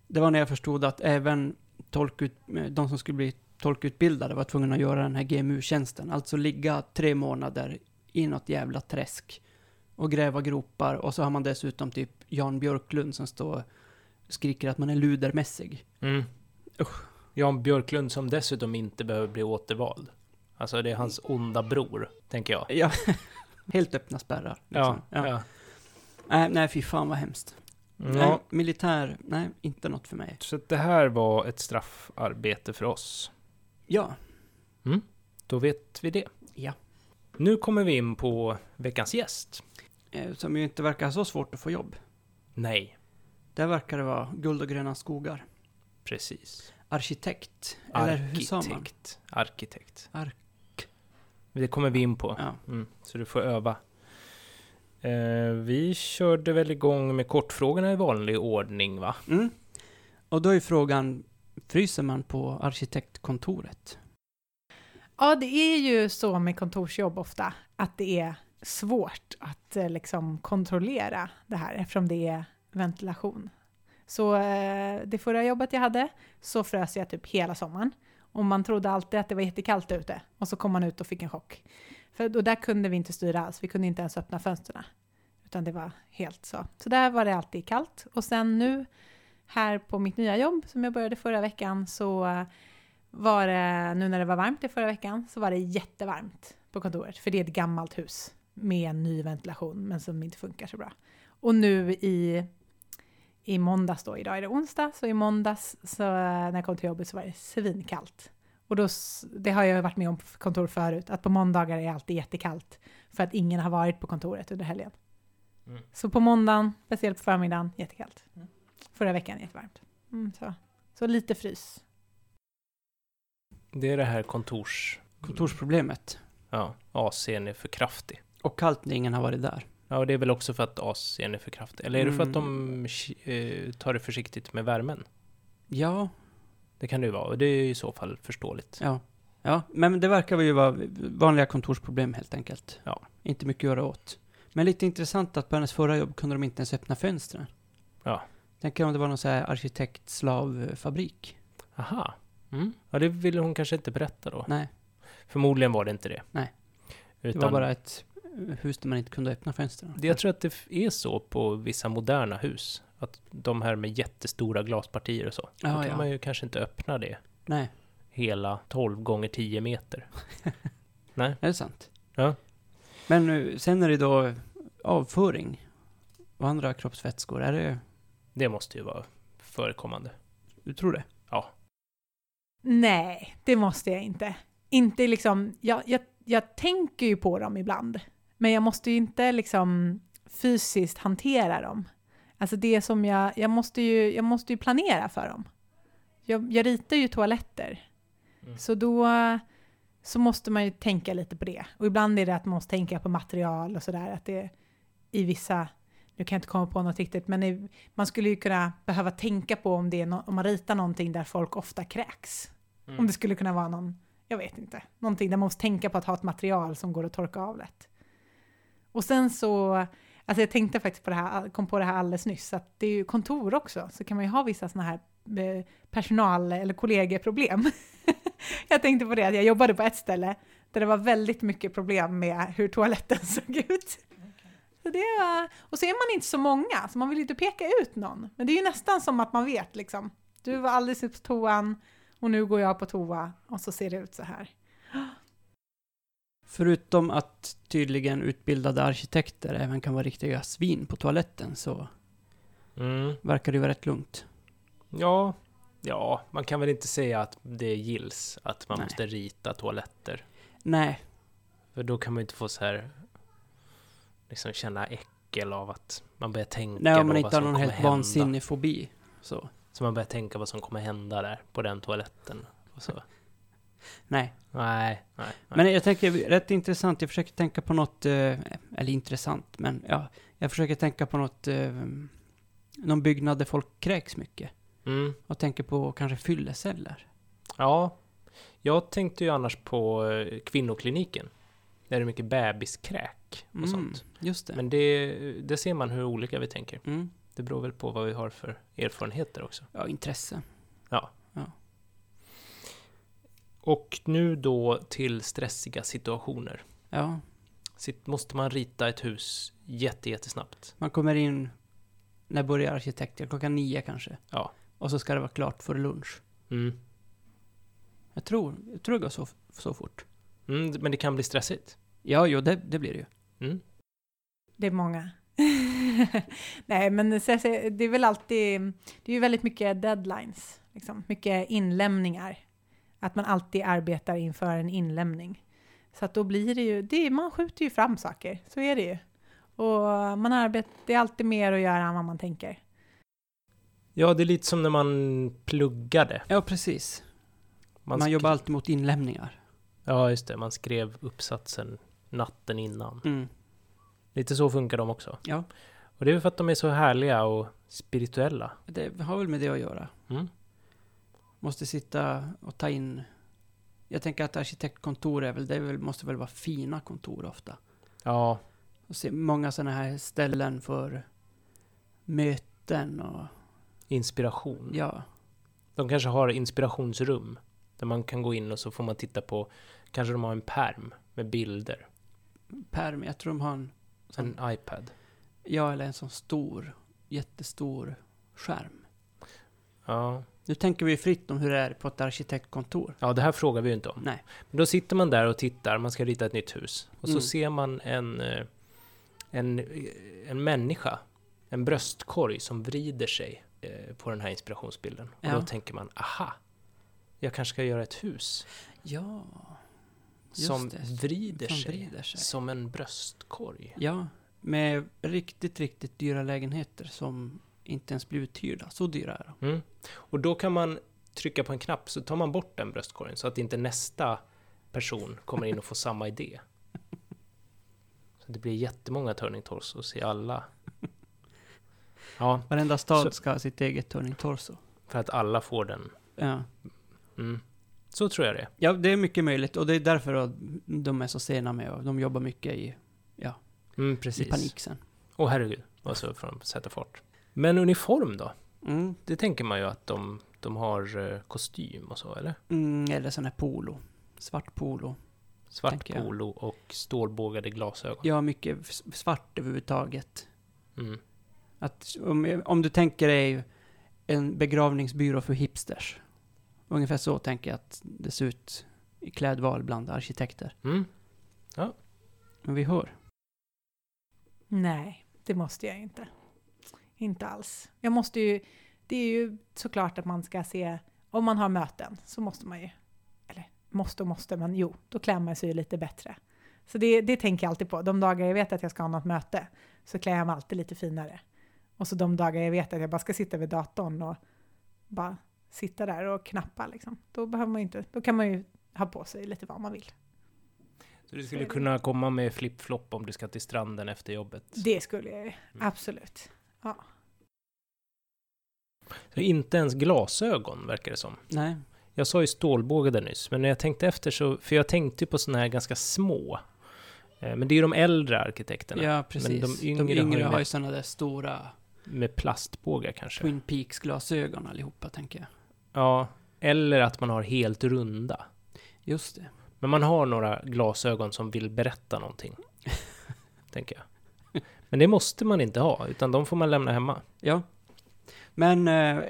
Speaker 1: Det var när jag förstod att även tolkut, de som skulle bli tolkutbildade var tvungna att göra den här GMU-tjänsten. Alltså ligga tre månader i något jävla träsk och gräva gropar. Och så har man dessutom typ Jan Björklund som står och skriker att man är ludermässig.
Speaker 2: Mm. Jan Björklund som dessutom inte behöver bli återvald. Alltså det är hans onda bror, tänker jag.
Speaker 1: Ja. Helt öppna spärrar. Liksom.
Speaker 2: Ja, ja.
Speaker 1: Nej, nej, fy fan vad hemskt. Nej,
Speaker 2: ja.
Speaker 1: militär, nej, inte något för mig.
Speaker 2: Så att det här var ett straffarbete för oss.
Speaker 1: Ja,
Speaker 2: Då vet vi det.
Speaker 1: Ja.
Speaker 2: Nu kommer vi in på veckans gäst.
Speaker 1: eh, som ju inte verkar ha så svårt att få jobb.
Speaker 2: Nej,
Speaker 1: Där verkar det vara guld och gröna skogar.
Speaker 2: precis.
Speaker 1: Arkitekt, eller hur sa man?
Speaker 2: Arkitekt. Arkitekt.
Speaker 1: Ark-
Speaker 2: Det kommer vi in på.
Speaker 1: Ja.
Speaker 2: Mm, så du får öva. Eh, vi körde väl igång med kortfrågorna i vanlig ordning, va?
Speaker 1: Mm. Och då är frågan, fryser man på arkitektkontoret?
Speaker 3: Ja, det är ju så med kontorsjobb ofta, att det är svårt att eh, liksom kontrollera det här eftersom det är ventilation. Så eh, det förra jobbet jag hade så frös jag typ hela sommaren och man trodde alltid att det var jättekallt ute och så kom man ut och fick en chock. För då där kunde vi inte styra alls, vi kunde inte ens öppna fönstren. Utan det var helt så. Så där var det alltid kallt. Och sen nu här på mitt nya jobb som jag började förra veckan så eh, var det, nu när det var varmt i förra veckan, så var det jättevarmt på kontoret. För det är ett gammalt hus med en ny ventilation, men som inte funkar så bra. Och nu i, i måndags då, idag är det onsdag, så i måndags så när jag kom till jobbet så var det svinkallt. Och då, s- det har jag ju varit med om på kontor förut, att på måndagar är det alltid jättekallt. För att ingen har varit på kontoret under helgen.
Speaker 2: Mm.
Speaker 3: Så på måndagen, speciellt på förmiddagen, jättekallt. Förra veckan jättevarmt. Mm, så. så lite frys.
Speaker 2: Det är det här kontors...
Speaker 1: Kontorsproblemet.
Speaker 2: Ja, AC'n är E för kraftig.
Speaker 1: Och kallt när ingen har varit där.
Speaker 2: Ja, och det är väl också för att AC'n E är för kraftig. Eller är det för att de
Speaker 1: Mm.
Speaker 2: eh, tar det försiktigt med värmen?
Speaker 1: Ja,
Speaker 2: Det kan det ju vara, och det är ju i så fall förståeligt.
Speaker 1: ja. Ja, men det verkar väl ju vara vanliga kontorsproblem helt enkelt.
Speaker 2: Ja.
Speaker 1: Inte mycket att göra åt. Men lite intressant att på hennes förra jobb kunde de inte ens öppna fönstren.
Speaker 2: Ja.
Speaker 1: Tänker om det var någon så här arkitektslavfabrik.
Speaker 2: Aha. Mm. Ja, det ville hon kanske inte berätta då.
Speaker 1: Nej,
Speaker 2: Förmodligen var det inte det.
Speaker 1: Nej.
Speaker 2: Utan
Speaker 1: det var bara ett eh, hus där man inte kunde öppna fönstren.
Speaker 2: Det- Jag tror att det f- är så på vissa moderna hus. Att de här med jättestora glaspartier och så.
Speaker 1: Ja,
Speaker 2: då kan
Speaker 1: ja.
Speaker 2: man ju kanske inte öppna det
Speaker 1: Nej,
Speaker 2: hela 12 gånger 10 meter.
Speaker 1: är det sant?
Speaker 2: Ja.
Speaker 1: Men eh, sen är det då avföring och andra kroppsvätskor. Är det...
Speaker 2: Det måste ju vara förekommande.
Speaker 1: Du tror det?
Speaker 3: Nej, det måste jag inte. Inte liksom, jag, jag, jag tänker ju på dem ibland. Men jag måste ju inte liksom fysiskt hantera dem. Alltså det som jag, jag måste ju, jag måste ju planera för dem. Jag, jag ritar ju toaletter.
Speaker 2: Mm.
Speaker 3: Så då så måste man ju tänka lite på det. Och ibland är det att man måste tänka på material och sådär. Att det i vissa, nu kan jag inte komma på något riktigt, men i, man skulle ju kunna behöva tänka på om, det är nå- om man ritar någonting där folk ofta kräks.
Speaker 1: Mm.
Speaker 3: Om det skulle kunna vara någon, jag vet inte, någonting där man måste tänka på att ha ett material som går att torka av lätt. Och sen så, alltså jag tänkte faktiskt på det här, kom på det här alldeles nyss, att det är ju kontor också, så kan man ju ha vissa sådana här eh, personal eller kollegieproblem. jag tänkte på det, att jag jobbade på ett ställe där det var väldigt mycket problem med hur toaletten såg ut. Så det var, och så är man inte så många, så man vill ju inte peka ut någon. Men det är ju nästan som att man vet liksom. Du var alldeles på toan och nu går jag på toa och så ser det ut så här.
Speaker 1: Förutom att tydligen utbildade arkitekter även kan vara riktiga svin på toaletten så
Speaker 2: Mm.
Speaker 1: verkar det ju vara rätt lugnt.
Speaker 2: Ja, ja, man kan väl inte säga att det gills att man
Speaker 1: Nej.
Speaker 2: måste rita toaletter.
Speaker 1: Nej,
Speaker 2: För då kan man ju inte få så här, liksom känna äckel av att man börjar tänka
Speaker 1: nej
Speaker 2: då
Speaker 1: om man
Speaker 2: vad
Speaker 1: inte har
Speaker 2: som
Speaker 1: någon
Speaker 2: kommer
Speaker 1: helt
Speaker 2: hända.
Speaker 1: vansinnig fobi. Så,
Speaker 2: Så man börjar tänka vad som kommer hända där, på den toaletten. Och så.
Speaker 1: nej.
Speaker 2: nej, nej, nej.
Speaker 1: Men jag tänker, rätt intressant, jag försöker tänka på något, eh, eller intressant, men ja, jag försöker tänka på något, eh, någon byggnad där folk kräks mycket.
Speaker 2: Mm.
Speaker 1: Och tänker på kanske fylleceller.
Speaker 2: Ja, jag tänkte ju annars på eh, kvinnokliniken. Där det är mycket bebiskräk och
Speaker 1: Mm.
Speaker 2: sånt.
Speaker 1: Just det.
Speaker 2: Men det, det ser man hur olika vi tänker.
Speaker 1: Mm.
Speaker 2: Det beror väl på vad vi har för erfarenheter också.
Speaker 1: Ja, intresse.
Speaker 2: Och nu då till stressiga situationer.
Speaker 1: Ja,
Speaker 2: Sitt, måste man rita ett hus jätte, jättesnabbt?
Speaker 1: man kommer in, när börjar arkitekter? Klockan nio kanske.
Speaker 2: Ja.
Speaker 1: Och så ska det vara klart före lunch.
Speaker 2: Mm.
Speaker 1: Jag tror, jag tror det går så, så fort.
Speaker 2: Mm, men det kan bli stressigt.
Speaker 1: Ja, jo, det, det blir det ju.
Speaker 2: Mm.
Speaker 3: Det är många. Nej, men så jag säger, det är väl alltid, det är ju väldigt mycket deadlines, liksom. mycket inlämningar. Att man alltid arbetar inför en inlämning. Så att då blir det ju, det, är- man skjuter ju fram saker, så är det ju. Och man arbetar, det är alltid mer att göra än vad man tänker.
Speaker 2: Ja, det är lite som när man pluggade.
Speaker 1: Ja, precis. Man,
Speaker 2: skri-
Speaker 1: jobbar alltid mot inlämningar.
Speaker 2: Ja, just det. Man skrev uppsatsen natten innan.
Speaker 1: Mm.
Speaker 2: Lite så funkar de också.
Speaker 1: Ja.
Speaker 2: Och det är för att de är så härliga och spirituella.
Speaker 1: Det har väl med det att göra.
Speaker 2: Mm.
Speaker 1: Måste sitta och ta in... Jag tänker att arkitektkontor är väl, det är väl, måste väl vara fina kontor ofta.
Speaker 2: Ja,
Speaker 1: Och se många sådana här ställen för möten och...
Speaker 2: inspiration.
Speaker 1: Ja.
Speaker 2: De kanske har inspirationsrum där man kan gå in och så får man titta på, kanske de har en perm med bilder,
Speaker 1: Perm, jag tror de har en... Sån,
Speaker 2: en iPad.
Speaker 1: Ja, eller en sån stor, jättestor skärm.
Speaker 2: Ja.
Speaker 1: Nu tänker vi fritt om hur det är på ett arkitektkontor.
Speaker 2: ja, det här frågar vi ju inte om.
Speaker 1: Nej.
Speaker 2: Men då sitter man där och tittar, man ska rita ett nytt hus och så
Speaker 1: Mm.
Speaker 2: ser man en, eh, en, eh, en människa, en bröstkorg som vrider sig eh, på den här inspirationsbilden. Och
Speaker 1: Ja.
Speaker 2: då tänker man, aha, jag kanske ska göra ett hus.
Speaker 1: Ja. Just
Speaker 2: som
Speaker 1: det.
Speaker 2: vrider,
Speaker 1: Som
Speaker 2: sig,
Speaker 1: vrider sig.
Speaker 2: som en bröstkorg.
Speaker 1: Ja, med riktigt, riktigt dyra lägenheter som inte ens blir uthyrda. Så dyra är de.
Speaker 2: Mm. Och då kan man trycka på en knapp så tar man bort den bröstkorgen så att inte nästa person kommer in och får samma idé. Så det blir jättemånga turning torsos i alla. Ja,
Speaker 1: Varenda stad
Speaker 2: Så-
Speaker 1: ska ha sitt eget turning torso.
Speaker 2: för att alla får den.
Speaker 1: Ja.
Speaker 2: Mm. Så tror jag det är.
Speaker 1: ja, det är mycket möjligt och det är därför att de är så sena med och de jobbar mycket i,
Speaker 2: Mm,
Speaker 1: i
Speaker 2: precis.
Speaker 1: panik sen.
Speaker 2: Åh herregud, vad så får de sätta fart. Men uniform då?
Speaker 1: Mm.
Speaker 2: Det tänker man ju att de, de har eh, kostym och så, eller?
Speaker 1: Mm, eller sån här polo. Svart polo.
Speaker 2: Svart
Speaker 1: Tänker jag.
Speaker 2: polo och stålbågade glasögon.
Speaker 1: Ja, mycket s- svart överhuvudtaget.
Speaker 2: Mm.
Speaker 1: Att om, om du tänker dig en begravningsbyrå för hipsters. Ungefär så tänker jag att det ser ut i klädval bland arkitekter.
Speaker 2: Mm.
Speaker 1: Men vi hör.
Speaker 3: Nej, det måste jag inte. Inte alls. Jag måste ju, det är ju såklart att man ska se, om man har möten så måste man ju, eller måste och måste, men jo, då klär man sig ju lite bättre. Så det, det tänker jag alltid på. De dagar jag vet att jag ska ha något möte så klär jag mig alltid lite finare. Och så de dagar jag vet att jag bara ska sitta vid datorn och bara sitta där och knappa liksom. Då behöver man ju inte, då kan man ju ha på sig lite vad man vill.
Speaker 2: Så du skulle kunna komma med flip-flop om du ska till stranden efter jobbet.
Speaker 3: Det skulle jag ju, absolut.
Speaker 2: Så inte ens glasögon verkar det som.
Speaker 1: Nej.
Speaker 2: Jag sa ju stålbåge där nyss, men när jag tänkte efter så, för jag tänkte ju på såna här ganska små. Eh, Men det är ju de äldre arkitekterna.
Speaker 1: Ja, precis.
Speaker 2: Men de
Speaker 1: de yngre,
Speaker 2: yngre har ju
Speaker 1: har,
Speaker 2: med-
Speaker 1: ju sådana där stora
Speaker 2: Med plastbågar kanske.
Speaker 1: Twin Peaks-glasögon allihopa, tänker jag.
Speaker 2: Ja, eller att man har helt runda.
Speaker 1: Just det.
Speaker 2: Men man har några glasögon som vill berätta någonting. tänker jag. Men det måste man inte ha, utan de får man lämna hemma.
Speaker 1: Ja. Men, eh,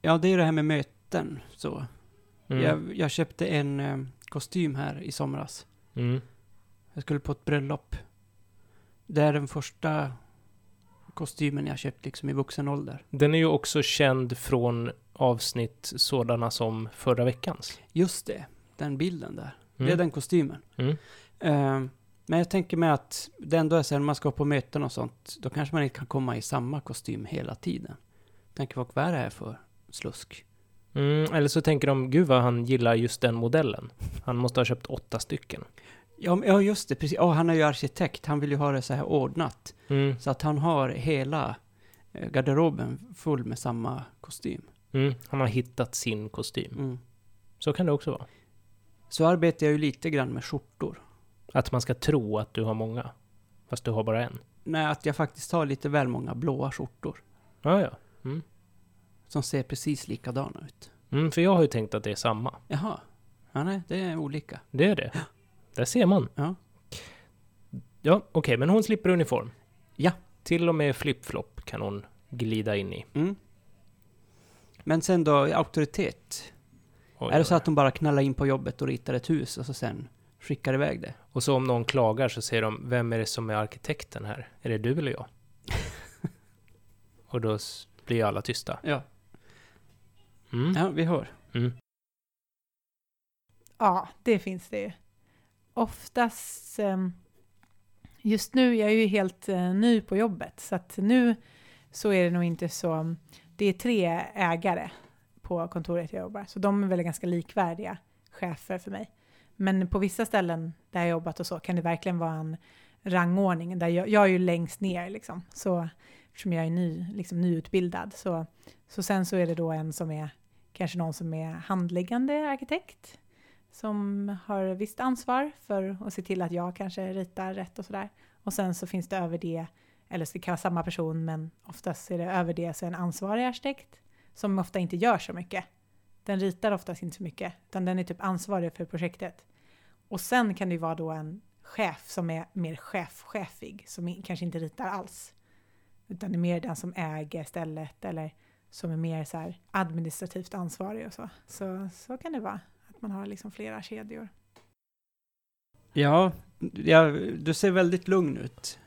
Speaker 1: ja, det är det här med möten. Så.
Speaker 2: Mm.
Speaker 1: Jag, jag köpte en eh, kostym här i somras.
Speaker 2: Mm.
Speaker 1: Jag skulle på ett bröllop. Det är den första kostymen jag köpt liksom i vuxen ålder.
Speaker 2: Den är ju också känd från avsnitt sådana som förra veckans.
Speaker 1: Just det, den bilden där. Det
Speaker 2: Mm.
Speaker 1: är den kostymen.
Speaker 2: Mm.
Speaker 1: Eh, men jag tänker mig att det ändå är så här, när man ska på möten och sånt, då kanske man inte kan komma i samma kostym hela tiden. Tänker folk, vad är det här för slusk?
Speaker 2: Mm, eller så tänker de, gud vad han gillar just den modellen. Han måste ha köpt åtta stycken.
Speaker 1: Ja, men- ja just det, precis. Ja, han är ju arkitekt, han vill ju ha det så här ordnat.
Speaker 2: Mm,
Speaker 1: Så att han har hela eh, garderoben full med samma kostym.
Speaker 2: mm, han har hittat sin kostym.
Speaker 1: Mm.
Speaker 2: Så kan det också vara.
Speaker 1: Så arbetar jag ju lite grann med skjortor.
Speaker 2: Att man ska tro att du har många, fast du har bara en.
Speaker 1: Nej, att jag faktiskt har lite väl många blåa skjortor.
Speaker 2: Ja, ja.
Speaker 1: Som ser precis likadana ut.
Speaker 2: Mm, för jag har ju tänkt att det är samma.
Speaker 1: Jaha. Ja, nej, det är olika.
Speaker 2: Det är det. Där ser man.
Speaker 1: Ja.
Speaker 2: Ja, okej, men hon slipper uniform.
Speaker 1: Ja.
Speaker 2: Till och med flip-flop kan hon glida in i.
Speaker 1: Mm. Men sen då, i auktoritet.
Speaker 2: Oj,
Speaker 1: är det
Speaker 2: oj.
Speaker 1: så att de bara knallar in på jobbet och ritar ett hus och så sen skickar iväg det?
Speaker 2: Och så om någon klagar så säger de, vem är det som är arkitekten här? Är det du eller jag? och då s- blir ju alla tysta.
Speaker 1: Ja.
Speaker 2: Mm.
Speaker 1: Ja, vi hör.
Speaker 2: Mm.
Speaker 3: Ja, det finns det ju. Oftast, ehm, just nu, jag är ju helt eh, ny på jobbet, så att nu så är det nog inte så, ehm, det är tre ägare på kontoret jag jobbar, så de är väl ganska likvärdiga chefer för mig. Men på vissa ställen där jag har jobbat och så kan det verkligen vara en rangordning, där jag, jag är ju längst ner liksom, så eftersom jag är ny, liksom nyutbildad, så, så sen så är det då en som är kanske någon som är handläggande arkitekt, som har visst ansvar för att se till att jag kanske ritar rätt och sådär. Och sen så finns det över det, eller så det kan vara samma person, men oftast är det över det så en ansvarig arkitekt som ofta inte gör så mycket. Den ritar oftast inte så mycket, utan den är typ ansvarig för projektet. Och sen kan det ju vara då en chef som är mer chef-chefig, som i- kanske inte ritar alls. Utan det är mer den som äger stället eller som är mer så här administrativt ansvarig och så. Så, så kan det vara. Att man har liksom flera kedjor.
Speaker 1: Ja, ja, du ser väldigt lugn ut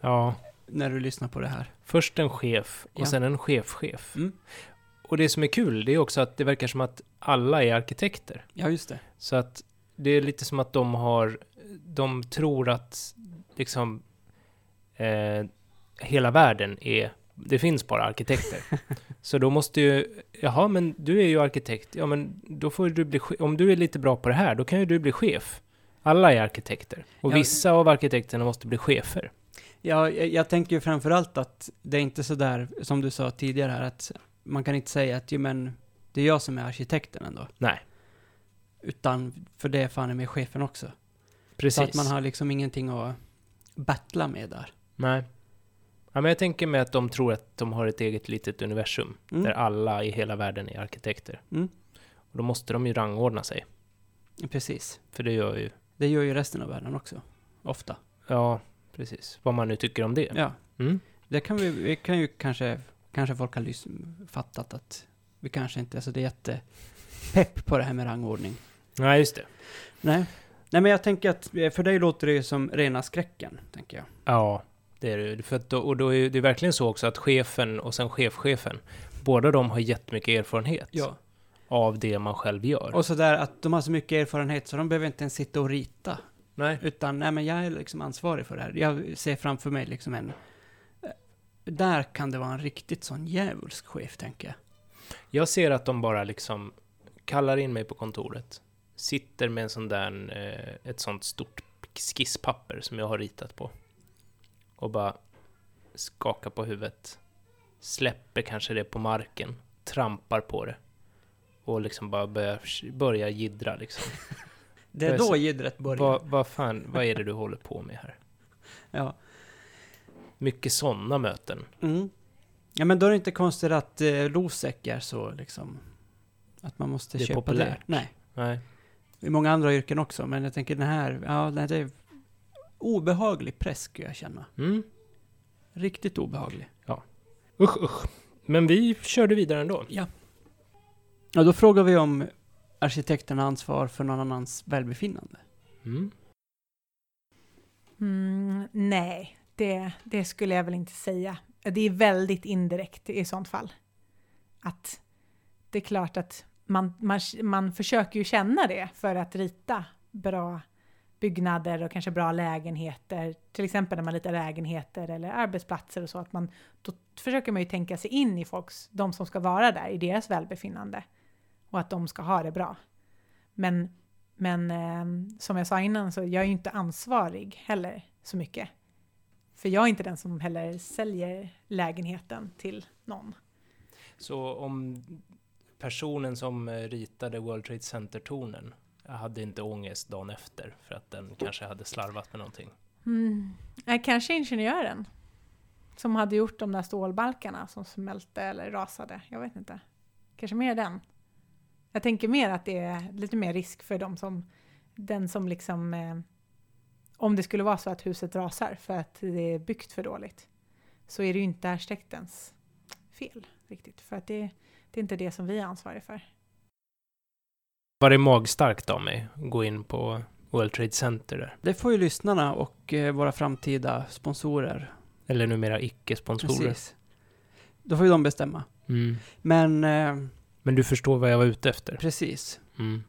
Speaker 2: Ja,
Speaker 1: när du lyssnar på det här.
Speaker 2: först en chef och
Speaker 1: Ja.
Speaker 2: sen en chefchef.
Speaker 1: Mm.
Speaker 2: Och det som är kul, det är också att det verkar som att alla är arkitekter.
Speaker 1: Ja, just det.
Speaker 2: Så att det är lite som att de har, de tror att liksom eh, hela världen är, det finns bara arkitekter. Så då måste ju, jaha men du är ju arkitekt, ja men då får ju du bli, che- om du är lite bra på det här, då kan ju du bli chef. Alla är arkitekter. Och
Speaker 1: Ja.
Speaker 2: vissa av arkitekterna måste bli chefer.
Speaker 1: Ja, jag, jag tänker ju framförallt att det är inte så där, som du sa tidigare här, att man kan inte säga att, "Jo, men det är jag som är arkitekten ändå.
Speaker 2: Nej.
Speaker 1: Utan, för det är fan i mig chefen också.
Speaker 2: Precis.
Speaker 1: Så att man har liksom ingenting att battla med där.
Speaker 2: Nej. Ja, men jag tänker mig att de tror att de har ett eget litet universum
Speaker 1: Mm.
Speaker 2: där alla i hela världen är arkitekter.
Speaker 1: Mm.
Speaker 2: Och då måste de ju rangordna sig,
Speaker 1: Precis.
Speaker 2: för det gör ju...
Speaker 1: Det gör ju resten av världen också. Ofta.
Speaker 2: Ja, precis. Vad man nu tycker om det.
Speaker 1: Ja.
Speaker 2: Mm.
Speaker 1: Det kan vi, vi kan ju kanske, kanske folk har lys- fattat att vi kanske inte är så det är jättepepp på det här med rangordning.
Speaker 2: Nej, just det.
Speaker 1: Nej. Nej, men jag tänker att eh, för dig låter det ju som rena skräcken, tänker jag.
Speaker 2: Ja, det är det ju. För att då, och då är det verkligen så också att chefen och sen chefchefen, båda de har jättemycket erfarenhet av det man själv gör.
Speaker 1: Och sådär att de har så mycket erfarenhet så de behöver inte ens sitta och rita.
Speaker 2: Nej.
Speaker 1: Utan, nej men jag är liksom ansvarig för det här. Jag ser framför mig liksom en... eh, Där kan det vara en riktigt sån djävulsk chef, tänker jag.
Speaker 2: Jag ser att de bara liksom kallar in mig på kontoret, sitter med en sån där, eh, ett sånt stort skisspapper som jag har ritat på och bara skakar på huvudet, släpper kanske det på marken, trampar på det och liksom bara börjar, börjar jiddra liksom.
Speaker 1: Det
Speaker 2: Jag är
Speaker 1: är då
Speaker 2: så-
Speaker 1: jiddret börjar.
Speaker 2: Vad vad fan, vad är det du håller på med här?
Speaker 1: Ja.
Speaker 2: Mycket sådana möten.
Speaker 1: Mm. ja, men då är det inte konstigt att eh, Losec är så liksom... Att man måste
Speaker 2: Det är
Speaker 1: köpa
Speaker 2: populärt.
Speaker 1: det. Nej.
Speaker 2: Nej.
Speaker 1: I många andra yrken också, men jag tänker den här, ja, nej, det är obehaglig press skulle jag känna.
Speaker 2: Mm.
Speaker 1: Riktigt obehaglig.
Speaker 2: Usch, usch. Men vi körde vidare ändå.
Speaker 1: Ja, då frågar vi om arkitekten har ansvar för någon annans välbefinnande.
Speaker 2: Mm.
Speaker 3: Mm, nej, det, det skulle jag väl inte säga. Det är väldigt indirekt i sånt fall. Att det är klart att man, man, man försöker ju känna det för att rita bra byggnader och kanske bra lägenheter. Till exempel när man ritar lägenheter eller arbetsplatser och så. Att man, då försöker man ju tänka sig in i folks, de som ska vara där, i deras välbefinnande. Och att de ska ha det bra. Men men eh, som jag sa innan så jag är ju inte ansvarig heller så mycket. För jag är inte den som heller säljer lägenheten till någon.
Speaker 2: Så om personen som eh, ritade World Trade Center-tornen hade inte ångest dagen efter för att den kanske hade slarvat med någonting.
Speaker 3: Mm. eh, Kanske ingenjören. Som hade gjort de där stålbalkarna som smälte eller rasade. Jag vet inte. Kanske mer den. Jag tänker mer att det är lite mer risk för de som, den som liksom... Eh, om det skulle vara så att huset rasar för att det är byggt för dåligt. Så är det ju inte arkitektens fel riktigt. För att det, det är inte det som vi är ansvariga för.
Speaker 2: Var det magstarkt av mig att gå in på World Trade Center där?
Speaker 1: Det får ju lyssnarna och eh, våra framtida sponsorer.
Speaker 2: Eller numera icke-sponsorer.
Speaker 1: Precis. Då får ju de bestämma.
Speaker 2: Mm.
Speaker 1: Men, eh,
Speaker 2: Men du förstår vad jag var ute efter?
Speaker 1: precis.
Speaker 2: Mm.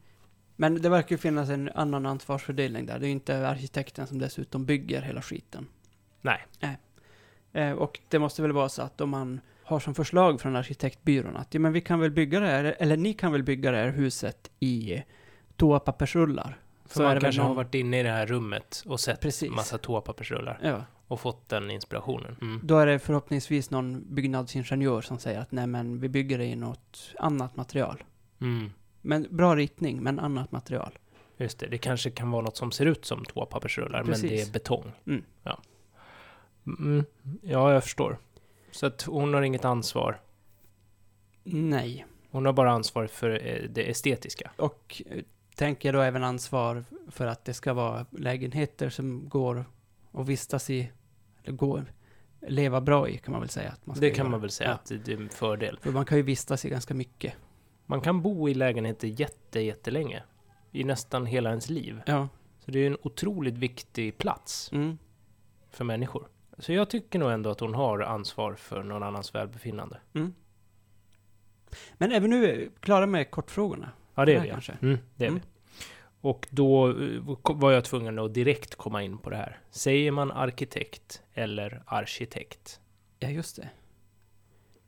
Speaker 1: Men det verkar ju finnas en annan ansvarsfördelning där. Det är ju inte arkitekten som dessutom bygger hela skiten.
Speaker 2: Nej.
Speaker 1: Nej. Eh, och det måste väl vara så att om man har som förslag från arkitektbyrån att ja, men vi kan väl bygga det här, eller ni kan väl bygga det här huset i toapappersrullar.
Speaker 2: För
Speaker 1: Så är
Speaker 2: man
Speaker 1: det
Speaker 2: kanske
Speaker 1: väl
Speaker 2: har
Speaker 1: någon-
Speaker 2: varit inne i det här rummet och sett
Speaker 1: Precis.
Speaker 2: massa toapappersrullar
Speaker 1: Ja.
Speaker 2: och fått den inspirationen. Mm.
Speaker 1: Då är det förhoppningsvis någon byggnadsingenjör som säger att nej men vi bygger det i något annat material.
Speaker 2: Mm.
Speaker 1: Men bra ritning, men annat material.
Speaker 2: Just det, det kanske kan vara något som ser ut som toapappersrullar, men det
Speaker 1: Precis.
Speaker 2: är betong.
Speaker 1: Mm.
Speaker 2: Ja. Mm, ja, jag förstår. Så att hon har inget ansvar.
Speaker 1: Nej.
Speaker 2: Hon har bara ansvar för eh, det estetiska.
Speaker 1: Och eh, tänker då även ansvar för att det ska vara lägenheter som går att vistas i, eller går, leva bra i kan man väl säga. Att man ska
Speaker 2: det kan
Speaker 1: göra.
Speaker 2: man väl säga
Speaker 1: Ja.
Speaker 2: att det är en fördel.
Speaker 1: För man kan ju vistas i ganska mycket.
Speaker 2: Man kan bo i lägenheter jätte, jättelänge. I nästan hela ens liv.
Speaker 1: Ja.
Speaker 2: Så det är en otroligt viktig plats
Speaker 1: Mm.
Speaker 2: för människor. Så jag tycker nog ändå att hon har ansvar för någon annans välbefinnande.
Speaker 1: Men även nu, eh, klara med kortfrågorna.
Speaker 2: Ja, det
Speaker 1: Ja,
Speaker 2: är vi. ja.
Speaker 1: kanske.
Speaker 2: Mm, det är
Speaker 1: Mm.
Speaker 2: vi. Och då eh, ko- var jag tvungen att direkt komma in på det här. Säger man arkitekt eller arkitekt?
Speaker 1: Ja, just det.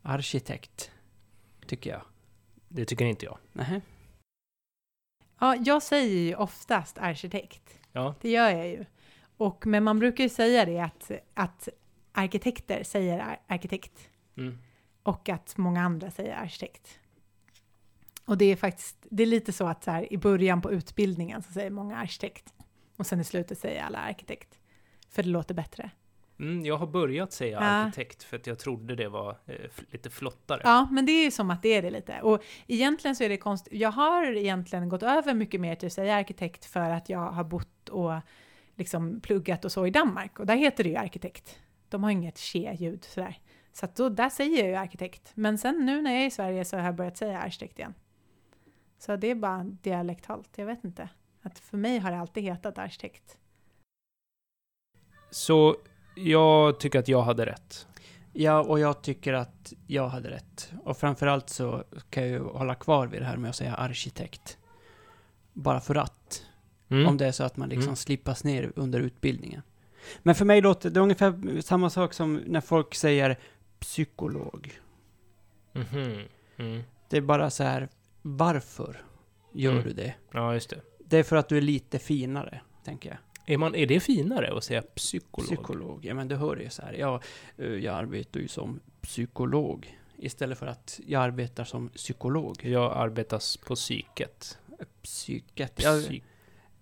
Speaker 1: Arkitekt, tycker jag.
Speaker 2: Det tycker inte jag.
Speaker 1: Nähä.
Speaker 3: Ja, jag säger ju oftast arkitekt.
Speaker 2: Ja.
Speaker 3: Det gör jag ju. Och, men man brukar ju säga det att, att arkitekter säger ar- arkitekt
Speaker 2: Mm.
Speaker 3: och att många andra säger arkitekt. Och det är faktiskt, det är lite så att så här, i början på utbildningen så säger många arkitekt och sen i slutet säger alla arkitekt. För det låter bättre.
Speaker 2: Mm, jag har börjat säga
Speaker 3: Ja.
Speaker 2: arkitekt för att jag trodde det var eh, f- lite flottare.
Speaker 3: Ja, men det är ju som att det är det lite. Och egentligen så är det konst. Jag har egentligen gått över mycket mer till att säga arkitekt för att jag har bott och liksom pluggat och så i Danmark. Och där heter det ju arkitekt. De har inget che-ljud sådär. Så att då, där säger jag ju arkitekt. Men sen nu när jag är i Sverige så har jag börjat säga arkitekt igen. Så det är bara dialektalt, jag vet inte. Att för mig har det alltid hetat arkitekt.
Speaker 2: Så jag tycker att jag hade rätt.
Speaker 1: Ja, och jag tycker att jag hade rätt. Och framförallt så kan jag ju hålla kvar vid det här med att säga arkitekt. Bara för att.
Speaker 2: Mm.
Speaker 1: Om det är så att man liksom
Speaker 2: Mm.
Speaker 1: slipas ner under utbildningen. Men för mig låter det ungefär samma sak som när folk säger psykolog.
Speaker 2: Mhm. Mm.
Speaker 1: Det är bara så här, varför gör
Speaker 2: Mm.
Speaker 1: du det?
Speaker 2: Ja, just det.
Speaker 1: Det är för att du är lite finare, tänker jag.
Speaker 2: Är, man, är det finare att säga psykolog?
Speaker 1: Psykolog. Ja, men du hör ju så här, jag, eh, jag arbetar ju som psykolog. Istället för att jag arbetar som psykolog.
Speaker 2: Jag arbetas på psyket.
Speaker 1: Psyket. Jag,
Speaker 2: Psyk.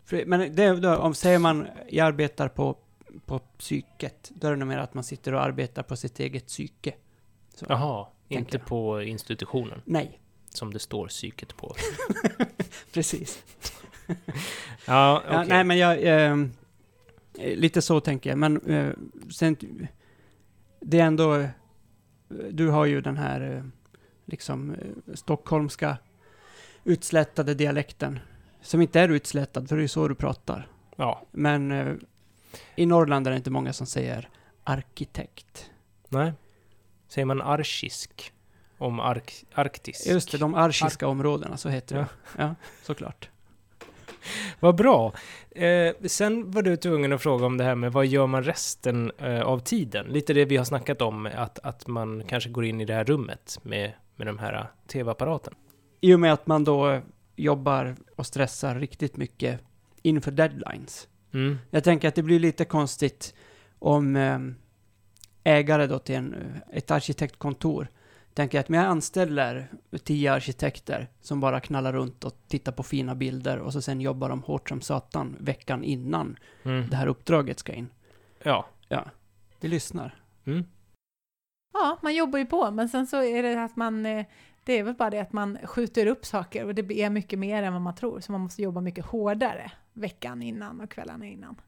Speaker 1: för- men det, då, om säger man, jag arbetar på, på psyket, då är det nog mer att man sitter och arbetar på sitt eget psyke. Så.
Speaker 2: Jaha,
Speaker 1: tänker
Speaker 2: inte
Speaker 1: jag.
Speaker 2: på institutionen
Speaker 1: Nej,
Speaker 2: som det står psyket på.
Speaker 1: precis.
Speaker 2: Ja,
Speaker 1: Ja,
Speaker 2: okej.
Speaker 1: nej, men jag... ehm, Eh, lite så tänker jag, men eh, sen... Det är ändå... eh, Du har ju den här eh, liksom eh, stockholmska utslätade dialekten. Som inte är utslätad, för det är ju så du pratar.
Speaker 2: ja,
Speaker 1: Men eh, i Norrland är det inte många som säger arkitekt.
Speaker 2: nej. Säger man arkisk om ark, Arktis?
Speaker 1: Just det, de arkiska områdena, så heter
Speaker 2: Ja.
Speaker 1: det. Ja, såklart.
Speaker 2: Vad bra. Eh, sen var du tvungen att fråga om det här med vad gör man resten eh, av tiden? Lite det vi har snackat om, att, att man kanske går in i det här rummet med, med den här eh, tv-apparaten.
Speaker 1: I och med att man då eh, jobbar och stressar riktigt mycket inför deadlines.
Speaker 2: Mm.
Speaker 1: Jag tänker att det blir lite konstigt om eh, ägare då till en, eh, ett arkitektkontor tänker att men jag anställer tio arkitekter som bara knallar runt och tittar på fina bilder och så sen jobbar de hårt som satan veckan innan
Speaker 2: Mm.
Speaker 1: det här uppdraget ska in.
Speaker 2: Ja.
Speaker 1: Vi lyssnar.
Speaker 2: Mm.
Speaker 3: Ja, man jobbar ju på, men sen så är det att man... eh, Det är väl bara det att man skjuter upp saker och det är mycket mer än vad man tror, så man måste jobba mycket hårdare veckan innan och kvällarna innan.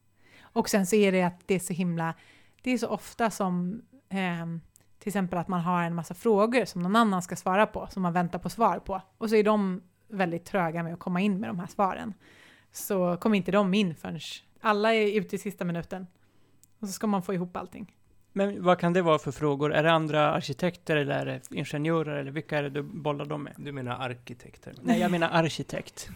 Speaker 3: Och sen så är det att det är så himla... Det är så ofta som ehm, till exempel att man har en massa frågor som någon annan ska svara på, som man väntar på svar på. Och så är de väldigt tröga med att komma in med de här svaren. Så kommer inte de in förrän alla är ute i sista minuten. Och så ska man få ihop allting.
Speaker 1: Men vad kan det vara för frågor? Är det andra arkitekter eller är det ingenjörer eller vilka är det du bollar dem med?
Speaker 2: Du menar arkitekter?
Speaker 1: Nej, jag menar arkitekt.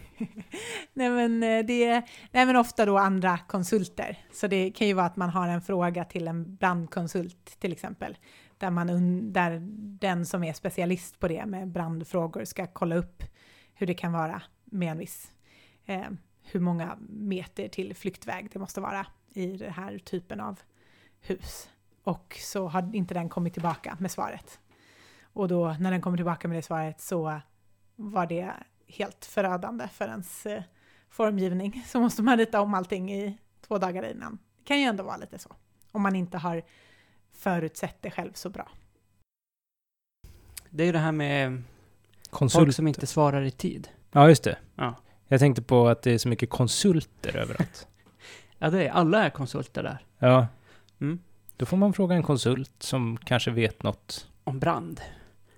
Speaker 3: Nej men, eh, det är, nej men ofta då andra konsulter. Så det kan ju vara att man har en fråga till en brandkonsult till exempel. Där, man, un- där den som är specialist på det med brandfrågor ska kolla upp hur det kan vara med en viss, eh, hur många meter till flyktväg det måste vara i den här typen av hus. Och så har inte den kommit tillbaka med svaret. Och då när den kommer tillbaka med det svaret så var det helt förödande för ens eh, formgivning så måste man rita om allting i två dagar innan. Det kan ju ändå vara lite så. Om man inte har förutsett det själv så bra.
Speaker 1: Det är ju det här med folk
Speaker 2: Konsult.
Speaker 1: som inte svarar i tid.
Speaker 2: Ja, just det.
Speaker 1: Ja.
Speaker 2: Jag tänkte på att det är så mycket konsulter överallt.
Speaker 1: Ja, det är alla är konsulter där.
Speaker 2: Ja.
Speaker 1: Mm.
Speaker 2: Då får man fråga en konsult som kanske vet något
Speaker 1: Om brand.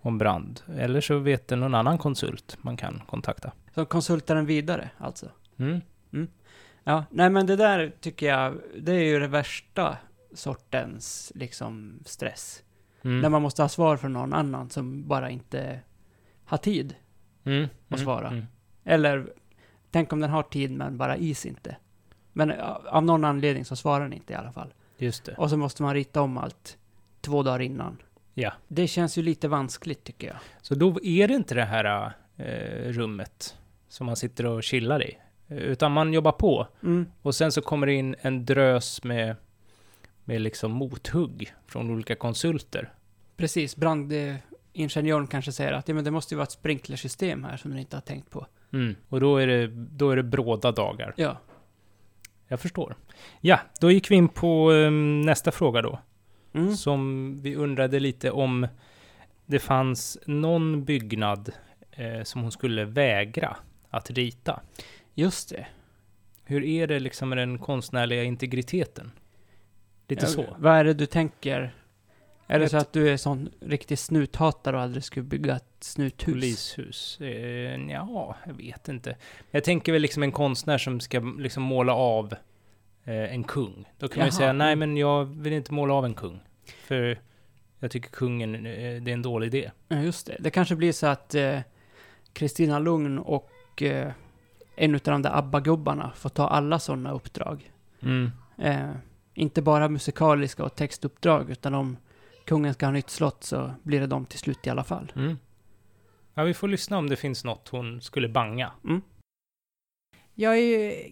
Speaker 2: om brand. Eller så vet det någon annan konsult man kan kontakta.
Speaker 1: Som konsultar den vidare, alltså?
Speaker 2: Mm.
Speaker 1: Ja, nej men det där tycker jag, det är ju det värsta sortens liksom stress.
Speaker 2: Mm.
Speaker 1: När man måste ha svar från någon annan som bara inte har tid
Speaker 2: Mm.
Speaker 1: att svara.
Speaker 2: Mm.
Speaker 1: eller Tänk om den har tid men bara is inte. Men eh, av någon anledning så svarar den inte i alla fall.
Speaker 2: Just det.
Speaker 1: Och så måste man rita om allt två dagar innan.
Speaker 2: Ja.
Speaker 1: Det känns ju lite vanskligt tycker jag.
Speaker 2: Så då är det inte det här eh, rummet som man sitter och chillar i, utan man jobbar på.
Speaker 1: Mm.
Speaker 2: Och sen så kommer det in en drös med, med liksom mothugg från olika konsulter.
Speaker 1: Precis, brandingenjören kanske säger att ja, men det måste ju vara ett sprinklersystem här som du inte har tänkt på.
Speaker 2: Mm. Och då är, det, då är det bråda dagar.
Speaker 1: Ja,
Speaker 2: Jag förstår. Ja, då gick vi in på eh, nästa fråga då.
Speaker 1: mm.
Speaker 2: Som vi undrade lite om det fanns någon byggnad eh, som hon skulle vägra att rita.
Speaker 1: just det.
Speaker 2: Hur är det liksom med den konstnärliga integriteten? Lite
Speaker 1: Ja,
Speaker 2: så.
Speaker 1: Vad är det du tänker? Är det
Speaker 2: Ett-
Speaker 1: så att du är sån riktig snuthatare och aldrig skulle bygga ett snuthus?
Speaker 2: Polishus? Eh, ja, jag vet inte. Jag tänker väl liksom en konstnär som ska liksom måla av eh, en kung. Då kan man
Speaker 1: Jaha.
Speaker 2: ju
Speaker 1: mm.
Speaker 2: säga, nej men jag vill inte måla av en kung. För jag tycker kungen, eh, det är en dålig idé.
Speaker 1: Ja, just det. Det kanske blir så att eh, Kristina Lugn och eh, en utav de där ABBA-gubbarna får ta alla sådana uppdrag. Eh, inte bara musikaliska och textuppdrag, utan om kungen ska ha nytt slott så blir det dem till slut i alla fall.
Speaker 2: Mm. Ja, vi får lyssna om det finns något hon skulle banga.
Speaker 1: Mm.
Speaker 3: Jag är ju,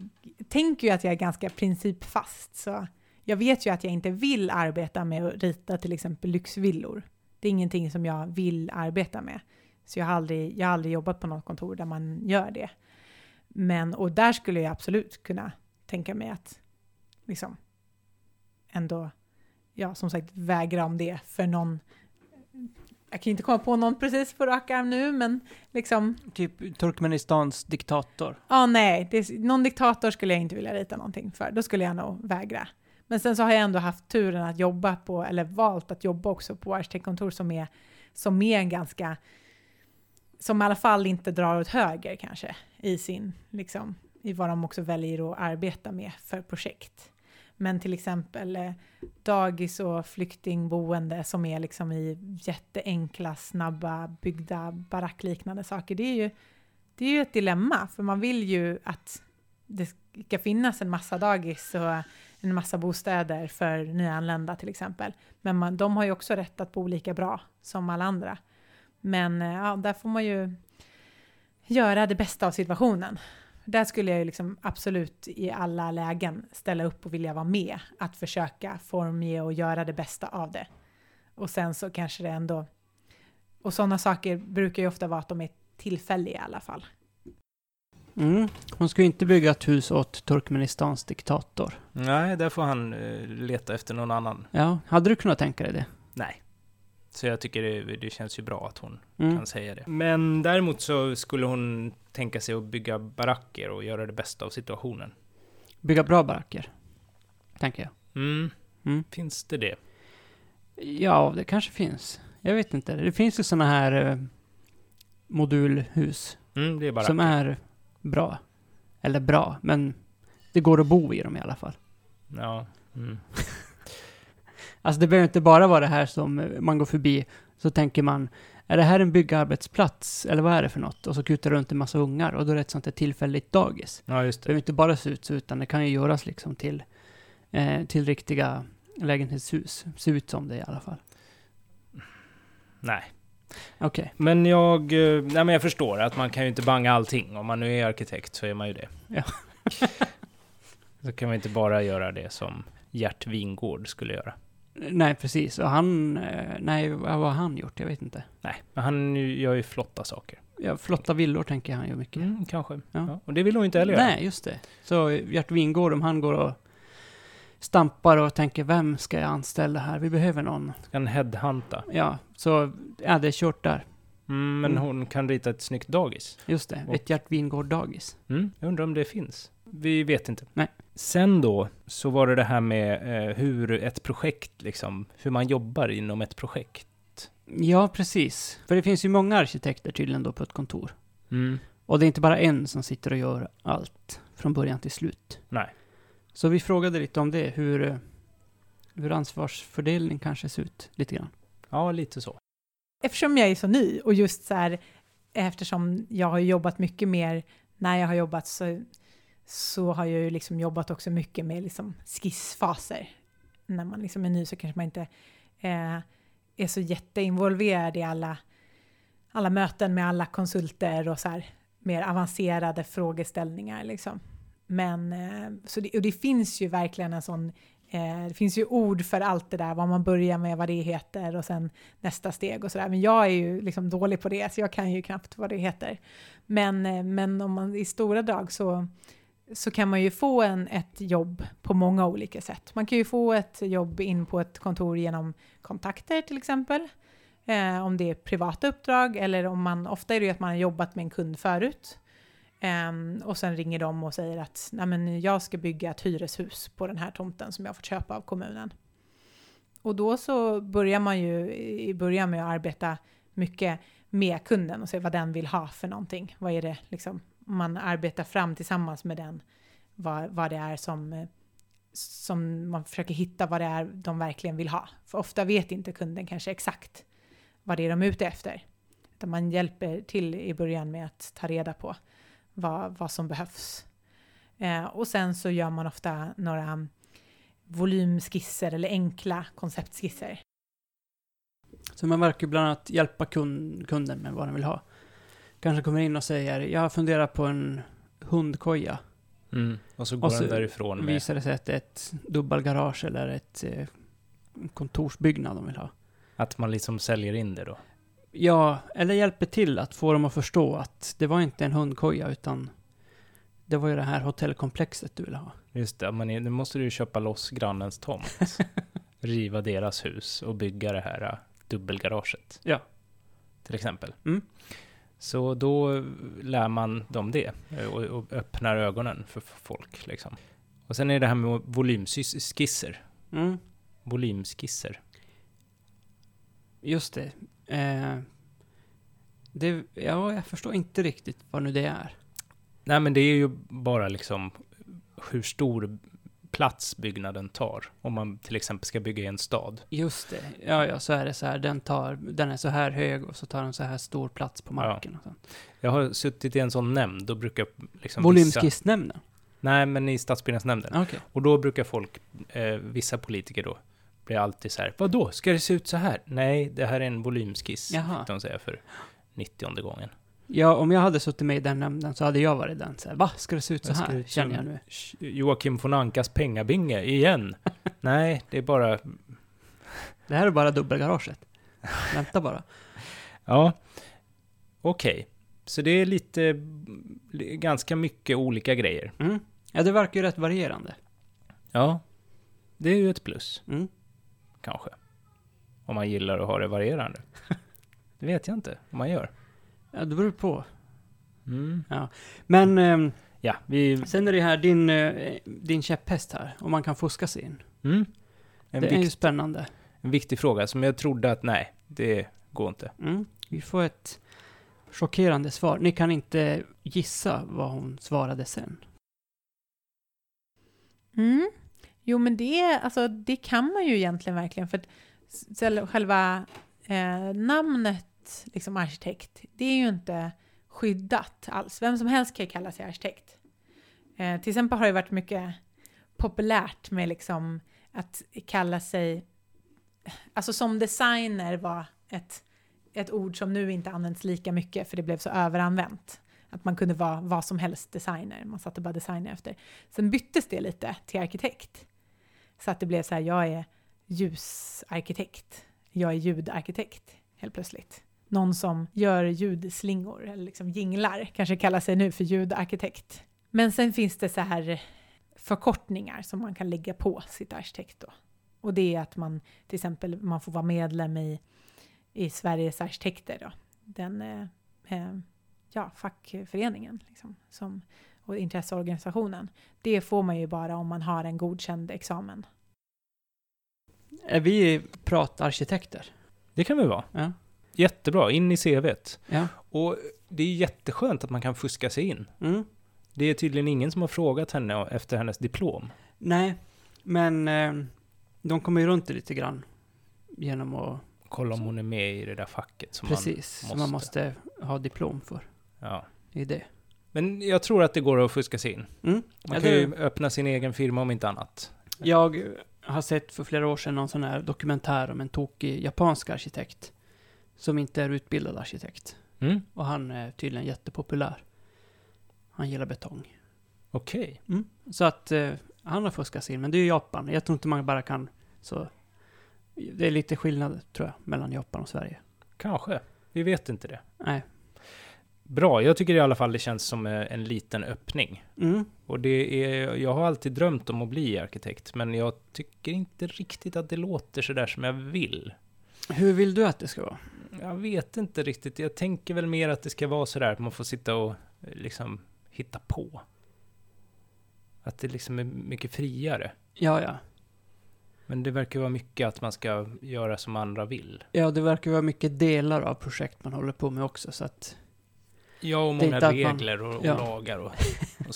Speaker 3: tänker ju att jag är ganska principfast, så jag vet ju att jag inte vill arbeta med att rita till exempel lyxvillor. Det är ingenting som jag vill arbeta med. Så jag har aldrig, jag har aldrig jobbat på något kontor där man gör det. Men, och där skulle jag absolut kunna tänka mig att liksom ändå, ja som sagt, vägra om det för någon. Jag kan inte komma på någon precis på rak arm nu, men liksom
Speaker 1: Typ Turkmenistans diktator.
Speaker 3: Ja, nej. Det, någon diktator skulle jag inte vilja rita någonting för. Då skulle jag nog vägra. Men sen så har jag ändå haft turen att jobba på, eller valt att jobba också på arkitektkontor som är, som är en ganska, som i alla fall inte drar åt höger kanske i sin, liksom, i vad de också väljer att arbeta med för projekt. Men till exempel eh, dagis och flyktingboende som är liksom i jätteenkla, snabba, byggda barackliknande saker. Det är ju det är ju ett dilemma, för man vill ju att det ska finnas en massa dagis och en massa bostäder för nyanlända till exempel. Men man, de har ju också rättat på olika bra som alla andra. Men eh, ja, där får man ju göra det bästa av situationen. Där skulle jag ju liksom absolut i alla lägen ställa upp och vilja vara med att försöka formge och göra det bästa av det. Och sen så kanske det ändå... Och sådana saker brukar ju ofta vara att de är tillfälliga i alla fall.
Speaker 1: Mm. Hon ska ju inte bygga ett hus åt Turkmenistans diktator.
Speaker 2: Nej, där får han eh, leta efter någon annan.
Speaker 1: Ja, hade du kunnat tänka dig det?
Speaker 2: Nej. Så jag tycker det, det känns ju bra att hon
Speaker 1: Mm.
Speaker 2: kan säga det. Men däremot så skulle hon tänka sig att bygga baracker och göra det bästa av situationen.
Speaker 1: Bygga bra baracker, tänker jag.
Speaker 2: Mm.
Speaker 1: Mm.
Speaker 2: Finns det det?
Speaker 1: Ja, det kanske finns. Jag vet inte. Det finns ju sådana här eh, modulhus
Speaker 2: Mm, det är baracker.
Speaker 1: som är bra. Eller bra, men det går att bo i dem i alla fall.
Speaker 2: Ja. Mm.
Speaker 1: Alltså det behöver inte bara vara det här som eh, man går förbi, så tänker man, är det här en byggarbetsplats, eller vad är det för något? Och så kutar det runt en massa ungar, och då är det ett sånt här tillfälligt dagis.
Speaker 2: Ja, just
Speaker 1: Det
Speaker 2: det.
Speaker 1: behöver inte bara se ut så, utan det kan ju göras liksom till, eh, till riktiga lägenhetshus. Se ut som det i alla fall.
Speaker 2: Nej.
Speaker 1: Okej,
Speaker 2: Men jag, eh, nej men jag förstår att man kan ju inte banga allting. Om man nu är arkitekt så är man ju det.
Speaker 1: Ja.
Speaker 2: så kan man inte bara göra det som Gert Wingårdh skulle göra.
Speaker 1: nej precis. Och han, eh, nej vad vad har han gjort? Jag vet inte.
Speaker 2: Nej, men han gör ju flotta saker.
Speaker 1: Ja, flotta villor tänker jag han gör mycket.
Speaker 2: Mm, kanske.
Speaker 1: Ja.
Speaker 2: Ja. Och det vill hon inte heller göra.
Speaker 1: nej, just det. Så eh, Gert Wingårdh, om han går och stampar och tänker vem ska jag anställa här? Vi behöver någon.
Speaker 2: Ska han headhunta?
Speaker 1: Ja, så ja, det är kört där.
Speaker 2: Mm, men
Speaker 1: Mm.
Speaker 2: hon kan rita ett snyggt dagis.
Speaker 1: Just det,
Speaker 2: Och-
Speaker 1: ett Gert Wingårdh-dagis.
Speaker 2: Mm, jag undrar om det finns. Vi vet inte.
Speaker 1: Nej.
Speaker 2: Sen då, så var det det här med eh, hur ett projekt, liksom, hur man jobbar inom ett projekt.
Speaker 1: Ja, precis. För det finns ju många arkitekter tydligen då på ett kontor.
Speaker 2: Mm.
Speaker 1: Och det är inte bara en som sitter och gör allt från början till slut.
Speaker 2: Nej.
Speaker 1: Så vi frågade lite om det, hur, eh, hur ansvarsfördelning kanske ser ut lite grann.
Speaker 2: Ja, lite så.
Speaker 3: eftersom jag är så ny och just så här, eftersom jag har jobbat mycket mer när jag har jobbat så, så har jag ju liksom jobbat också mycket med liksom skissfaser. När man liksom är ny så kanske man inte eh, är så jätteinvolverad i alla, alla möten med alla konsulter och så här mer avancerade frågeställningar liksom. Men eh, så det, och det finns ju verkligen en sån eh, det finns ju ord för allt det där, vad man börjar med, vad det heter och sen nästa steg och sådär. Men jag är ju liksom dålig på det, så jag kan ju knappt vad det heter. Men, eh, men om man i stora drag så, så kan man ju få en, ett jobb på många olika sätt. Man kan ju få ett jobb in på ett kontor genom kontakter till exempel. Eh, om det är privata uppdrag eller om man, ofta är det ju att man har jobbat med en kund förut. Ehm, och sen ringer de och säger att Nej, men jag ska bygga ett hyreshus på den här tomten som jag fått köpa av kommunen. Och då så börjar man ju i början med att arbeta mycket med kunden och se vad den vill ha för någonting. Vad är det liksom man arbetar fram tillsammans med den? Vad, vad det är som eh, som man försöker hitta vad det är de verkligen vill ha. För ofta vet inte kunden kanske exakt vad det är de är ute efter. Utan man hjälper till i början med att ta reda på vad, vad som behövs. Eh, och sen så gör man ofta några volymskisser eller enkla konceptskisser.
Speaker 1: Så man verkar ju bland annat hjälpa kun- kunden med vad den vill ha. Kanske kommer in och säger, jag funderar på en hundkoja.
Speaker 2: Mm. Och så går
Speaker 1: så
Speaker 2: den därifrån med...
Speaker 1: Visar det sig att det är ett dubbelgarage eller ett eh, kontorsbyggnad de vill ha.
Speaker 2: Att man liksom säljer in det då.
Speaker 1: Ja, eller hjälper till att få dem att förstå att det var inte en hundkoja utan det var ju det här hotellkomplexet du ville ha.
Speaker 2: Just det, men nu måste du ju köpa loss grannens tomt. riva deras hus och bygga det här eh, dubbelgaraget.
Speaker 1: Ja.
Speaker 2: Till exempel.
Speaker 1: Mm.
Speaker 2: Så då eh, lär man dem det eh, och, och öppnar ögonen för f- folk. Liksom. Och sen är det här med volymskisser.
Speaker 1: Mm,
Speaker 2: Volymskisser.
Speaker 1: just det. Eh, det. Ja, jag förstår inte riktigt vad nu det är.
Speaker 2: Nej, men det är ju bara liksom hur stor plats byggnaden tar. Om man till exempel ska bygga i en stad.
Speaker 1: Just det. Ja, ja, så är det så här. Den, tar, den är så här hög och så tar den så här stor plats på
Speaker 2: Ja.
Speaker 1: marken. och sånt.
Speaker 2: Jag har suttit i en sån nämnd, då brukar liksom vissa,
Speaker 1: Volymskissnämnden?
Speaker 2: Nej, men i stadsbyggnadsnämnden.
Speaker 1: Okej.
Speaker 2: Och då brukar folk, eh, vissa politiker då, blir alltid så här, vadå, ska det se ut så här? Nej, det här är en volymskiss,
Speaker 1: Jaha.
Speaker 2: fick de säga för 90 gången.
Speaker 1: Ja, om jag hade suttit med i den nämnden så hade jag varit den. Så här, Va? Ska det se ut så
Speaker 2: Jag ska-
Speaker 1: här? Känner jag nu.
Speaker 2: Sh- Joakim von Ankas pengabinge, igen. Nej, det är bara,
Speaker 1: Det här är bara dubbelgaraget. Vänta bara.
Speaker 2: ja, okej. Så det är lite, ganska mycket olika grejer.
Speaker 1: Mm. Ja, det verkar ju rätt varierande.
Speaker 2: Ja, det är ju ett plus,
Speaker 1: Mm.
Speaker 2: kanske. Om man gillar att ha det varierande. Det vet jag inte, om man gör.
Speaker 1: Ja, det beror på.
Speaker 2: Mm.
Speaker 1: Men ehm,
Speaker 2: Ja, vi
Speaker 1: sen är det här din, eh, din käpphäst här, om man kan fuska sig in.
Speaker 2: Mm.
Speaker 1: Det
Speaker 2: En,
Speaker 1: är
Speaker 2: vik-
Speaker 1: ju spännande.
Speaker 2: en viktig fråga som jag trodde att nej, det går inte.
Speaker 1: Mm. Vi får ett chockerande svar. Ni kan inte gissa vad hon svarade sen.
Speaker 3: Mm. Jo, men det, alltså, det kan man ju egentligen verkligen. För att s- sel- själva eh, namnet liksom arkitekt, det är ju inte skyddat alls. Vem som helst kan ju kalla sig arkitekt. Eh, till exempel har det varit mycket populärt med liksom att kalla sig... Alltså som designer var ett, ett ord som nu inte används lika mycket för det blev så överanvänt. Att man kunde vara vad som helst designer. Man satte bara designer efter. Sen byttes det lite till arkitekt. Så att det blev så här, jag är ljusarkitekt. Jag är ljudarkitekt helt plötsligt. Någon som gör ljudslingor eller liksom jinglar kanske kallar sig nu för ljudarkitekt. Men sen finns det så här förkortningar som man kan lägga på sitt arkitekt då. Och det är att man till exempel man får vara medlem i, i Sveriges arkitekter då. Den eh, eh, ja, fackföreningen liksom, som, och intresseorganisationen. Det får man ju bara om man har en godkänd examen.
Speaker 1: Är Eh, vi pratarkitekter?
Speaker 2: Det kan väl vara.
Speaker 1: Ja.
Speaker 2: Jättebra, in i CVt.
Speaker 1: Ja.
Speaker 2: Och det är jätteskönt att man kan fuska sig in.
Speaker 1: Mm.
Speaker 2: Det är tydligen ingen som har frågat henne efter hennes diplom.
Speaker 1: Nej, men eh, de kommer ju runt det lite grann. Genom att...
Speaker 2: Kolla om hon är med i det där facket som
Speaker 1: precis, som man måste ha diplom för.
Speaker 2: man... Ja.
Speaker 1: Det är det.
Speaker 2: Men jag tror att det går att fuska sig in.
Speaker 1: Mm.
Speaker 2: Man
Speaker 1: Ja,
Speaker 2: kan
Speaker 1: det-
Speaker 2: ju öppna sin egen firma om inte annat.
Speaker 1: Jag har sett för flera år sedan någon sån här dokumentär om en tokig japansk arkitekt. Som inte är utbildad arkitekt.
Speaker 2: Mm.
Speaker 1: Och han är tydligen jättepopulär. Han gillar betong.
Speaker 2: Okej.
Speaker 1: Så att eh, han har fuskat sig in, men det är ju Japan. Jag tror inte man bara kan så. Det är lite skillnad, tror jag, mellan Japan och Sverige.
Speaker 2: Kanske. Vi vet inte det.
Speaker 1: Nej.
Speaker 2: Bra. Jag tycker i alla fall det känns som eh, en liten öppning.
Speaker 1: Mm.
Speaker 2: Och det är, jag har alltid drömt om att bli arkitekt, men jag tycker inte riktigt att det låter sådär som jag vill.
Speaker 1: Hur vill du att det ska vara?
Speaker 2: Jag vet inte riktigt. Jag tänker väl mer att det ska vara sådär att man får sitta och eh, liksom hitta på. Att det liksom är mycket friare.
Speaker 1: Ja, ja.
Speaker 2: Men det verkar vara mycket att man ska göra som andra vill.
Speaker 1: Ja, det verkar vara mycket delar av projekt man håller på med också, så att
Speaker 2: Ja, och
Speaker 1: Det är
Speaker 2: många
Speaker 1: inte att man-
Speaker 2: regler och, och
Speaker 1: Ja.
Speaker 2: lagar och, och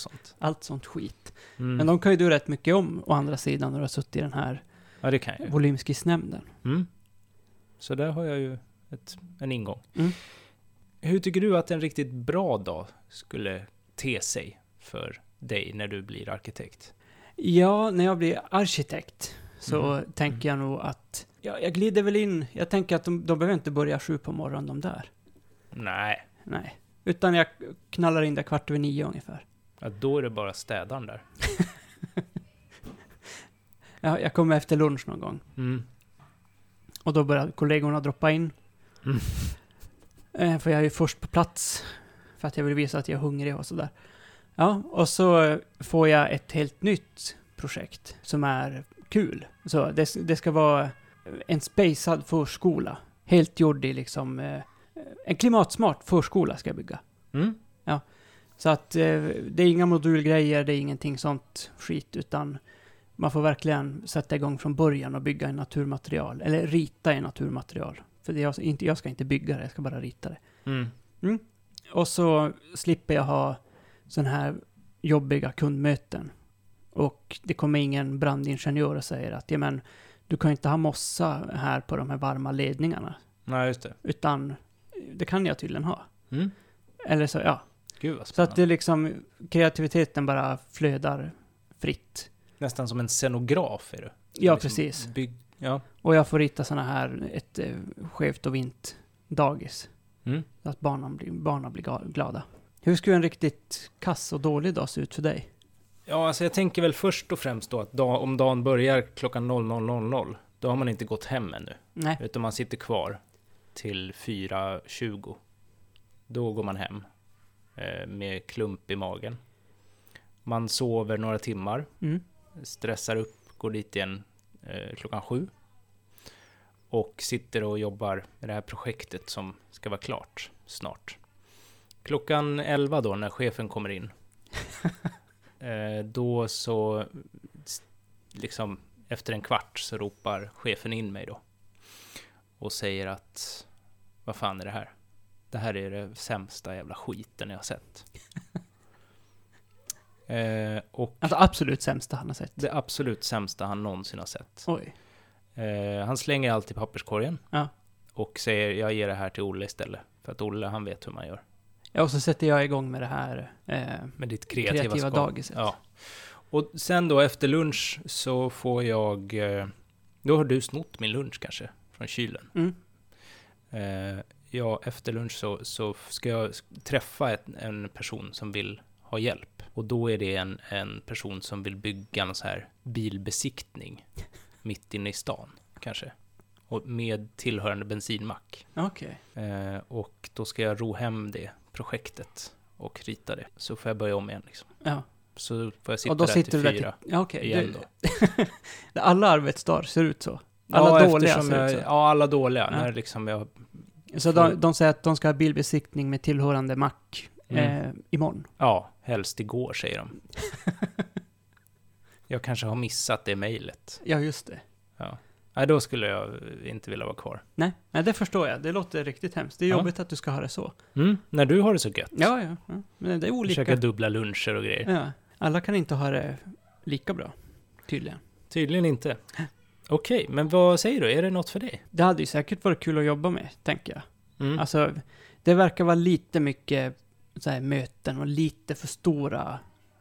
Speaker 2: sånt.
Speaker 1: allt sånt skit.
Speaker 2: Mm.
Speaker 1: Men de kan ju du rätt mycket om, å andra sidan, när du har suttit i den här
Speaker 2: ja, det kan jag ju.
Speaker 1: volymskissnämnden.
Speaker 2: Mm. Så där har jag ju ett, en ingång.
Speaker 1: Mm.
Speaker 2: Hur tycker du att en riktigt bra dag skulle te sig för dig när du blir arkitekt?
Speaker 1: Ja, när jag blir arkitekt så
Speaker 2: Mhm.
Speaker 1: tänker jag nog att... Ja, jag glider väl in. Jag tänker att de, de behöver inte börja sju på morgonen, de där.
Speaker 2: Nej,
Speaker 1: Nej. Utan jag knallar in där kvart över nio ungefär.
Speaker 2: ja, då är det bara städaren där.
Speaker 1: Jag, jag kommer efter lunch någon gång.
Speaker 2: Mm.
Speaker 1: Och då börjar kollegorna droppa in.
Speaker 2: Mm.
Speaker 1: Eh, för jag är ju först på plats. För att jag vill visa att jag är hungrig och sådär. Ja, och så eh, får jag ett helt nytt projekt som är kul. Så det, det ska vara en spejsad förskola. Helt gjord i liksom... eh, En klimatsmart förskola ska jag bygga.
Speaker 2: Mm.
Speaker 1: Så att eh, det är inga modulgrejer, det är ingenting sånt skit, utan man får verkligen sätta igång från början och bygga i naturmaterial, eller rita i naturmaterial. För det är jag, inte, jag ska inte bygga det, jag ska bara rita det.
Speaker 2: Mm.
Speaker 1: Och så slipper jag ha sådana här jobbiga kundmöten. Och det kommer ingen brandingenjör och säger att ja men du kan ju inte ha mossa här på de här varma ledningarna,
Speaker 2: Nej, just det.
Speaker 1: utan det kan jag tydligen ha.
Speaker 2: Mm.
Speaker 1: Eller så, ja.
Speaker 2: Gud vad
Speaker 1: Så att
Speaker 2: spännande.
Speaker 1: det är liksom, kreativiteten bara flödar fritt.
Speaker 2: Nästan som en scenograf är du. Som
Speaker 1: Ja,
Speaker 2: liksom
Speaker 1: precis.
Speaker 2: Bygg... Ja.
Speaker 1: Och jag får rita såna här, ett eh, skevt och vint dagis.
Speaker 2: Mm.
Speaker 1: Så att barnen blir, barnen blir ga- glada. Hur skulle en riktigt kass och dålig dag se ut för dig?
Speaker 2: ja, alltså jag tänker väl först och främst då att dag, om dagen börjar klockan 00.00, då har man inte gått hem ännu.
Speaker 1: Nej.
Speaker 2: Utan man sitter kvar till 4.20. Då går man hem eh, med klump i magen. Man sover några timmar,
Speaker 1: Mm.
Speaker 2: stressar upp, går dit igen eh, klockan sju. Och sitter och jobbar med det här projektet som ska vara klart snart. Klockan 11 då, när chefen kommer in, eh, då så, s- liksom, efter en kvart så ropar chefen in mig då. Och säger att, vad fan är det här? Det här är det sämsta jävla skiten jag har sett. eh, och
Speaker 1: Alltså absolut sämsta han har sett.
Speaker 2: det absolut sämsta han någonsin har sett.
Speaker 1: Oj.
Speaker 2: Eh, han slänger allt i papperskorgen.
Speaker 1: Ja.
Speaker 2: Och säger jag ger det här till Olle istället. För att Olle han vet hur man gör.
Speaker 1: Ja, och så sätter jag igång med det här eh,
Speaker 2: Med ditt kreativa,
Speaker 1: kreativa
Speaker 2: skap.
Speaker 1: dagiset.
Speaker 2: Ja. Och sen då efter lunch så får jag... eh, Då har du snott min lunch kanske. Från kylen.
Speaker 1: Mm.
Speaker 2: Eh, ja, efter lunch så, så ska jag sk- träffa ett, en person som vill ha hjälp. Och då är det en, en person som vill bygga en så här bilbesiktning mitt inne i stan, kanske. Och med tillhörande bensinmack.
Speaker 1: Okej.
Speaker 2: Eh, och då ska jag ro hem det projektet och rita det. Så får jag börja om igen liksom.
Speaker 1: Ja.
Speaker 2: Så får jag sitta
Speaker 1: och då
Speaker 2: där
Speaker 1: sitter du
Speaker 2: till
Speaker 1: där
Speaker 2: fyra
Speaker 1: till... Ja, okej.
Speaker 2: igen
Speaker 1: Du-
Speaker 2: då.
Speaker 1: Alla arbetsdagar ser ut så. Alla
Speaker 2: ja,
Speaker 1: dåliga
Speaker 2: eftersom
Speaker 1: ser ut
Speaker 2: jag,
Speaker 1: så.
Speaker 2: Ja, alla dåliga.
Speaker 1: Ja.
Speaker 2: När liksom jag...
Speaker 1: Så de, de säger att de ska ha bilbesiktning med tillhörande mack
Speaker 2: Mm.
Speaker 1: eh, imorgon.
Speaker 2: Ja, helst igår säger de. jag kanske har missat det mejlet.
Speaker 1: Ja, just det.
Speaker 2: Nej, då skulle jag inte vilja vara kvar.
Speaker 1: Nej, nej, det förstår jag. Det låter riktigt hemskt. Det är
Speaker 2: Ja.
Speaker 1: jobbigt att du ska ha det så.
Speaker 2: Mm, när du har det så gött.
Speaker 1: Ja, ja. ja. Men det är olika.
Speaker 2: Försöka dubbla luncher och grejer.
Speaker 1: ja. Alla kan inte ha det lika bra, tydligen.
Speaker 2: Tydligen inte. Okej, men vad säger du? Är det något för dig? Alltså,
Speaker 1: Det hade Mm. ju säkert varit kul att jobba med, tänker jag. Alltså, det verkar vara lite mycket så här möten och lite för stora.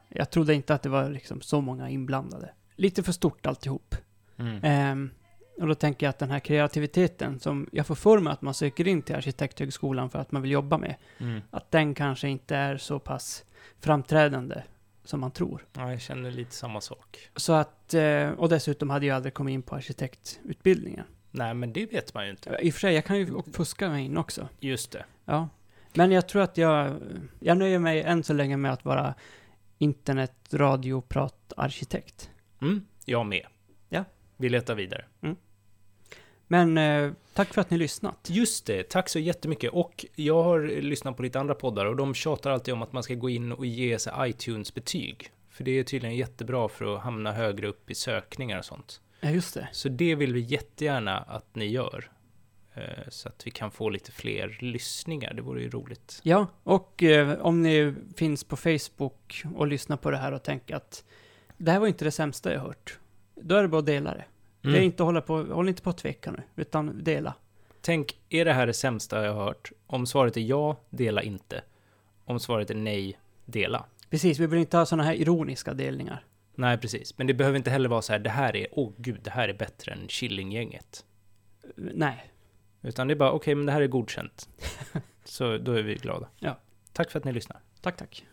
Speaker 1: Jag trodde inte att det var liksom så många inblandade. Lite för stort alltihop.
Speaker 2: Mm.
Speaker 1: Ehm, och då tänker jag att den här kreativiteten som jag får för mig att man söker in till Arkitekthögskolan för att man vill jobba med,
Speaker 2: Mm.
Speaker 1: att den kanske inte är så pass framträdande som man tror.
Speaker 2: Ja, jag känner lite samma sak.
Speaker 1: Så att, eh, och dessutom hade jag aldrig kommit in på arkitektutbildningen.
Speaker 2: Nej, men det vet man ju inte.
Speaker 1: I och för sig, jag kan ju fuska mig in också.
Speaker 2: Just det.
Speaker 1: Ja. Men jag tror att jag, jag nöjer mig än så länge med att vara internet, radio, prat, arkitekt.
Speaker 2: Mm. Jag med.
Speaker 1: Ja.
Speaker 2: Vi letar vidare.
Speaker 1: Men eh, tack för att ni lyssnat.
Speaker 2: Just det, tack så jättemycket. Och jag har lyssnat på lite andra poddar och de tjatar alltid om att man ska gå in och ge sig iTunes-betyg. För det är tydligen jättebra för att hamna högre upp i sökningar och sånt.
Speaker 1: Ja, just det.
Speaker 2: Så det vill vi jättegärna att ni gör. Eh, Så att vi kan få lite fler lyssningar, det vore ju roligt.
Speaker 1: Ja, och eh, om ni finns på Facebook och lyssnar på det här och tänker att det här var inte det sämsta jag hört. Då är det bara att dela det. Det är
Speaker 2: Mm.
Speaker 1: inte att hålla på, håll inte på att tveka nu, utan dela.
Speaker 2: Tänk, är det här det sämsta jag har hört? Om svaret är ja, dela inte. Om svaret är nej, dela.
Speaker 1: Precis, vi vill inte ha sådana här ironiska delningar.
Speaker 2: Nej, precis. Men det behöver inte heller vara så här, det här är, åh gud, det här är bättre än Killinggänget.
Speaker 1: Nej.
Speaker 2: Utan det är bara, okej, men det här är godkänt. Så då är vi glada.
Speaker 1: Ja.
Speaker 2: Tack för att ni lyssnar.
Speaker 1: Tack, tack.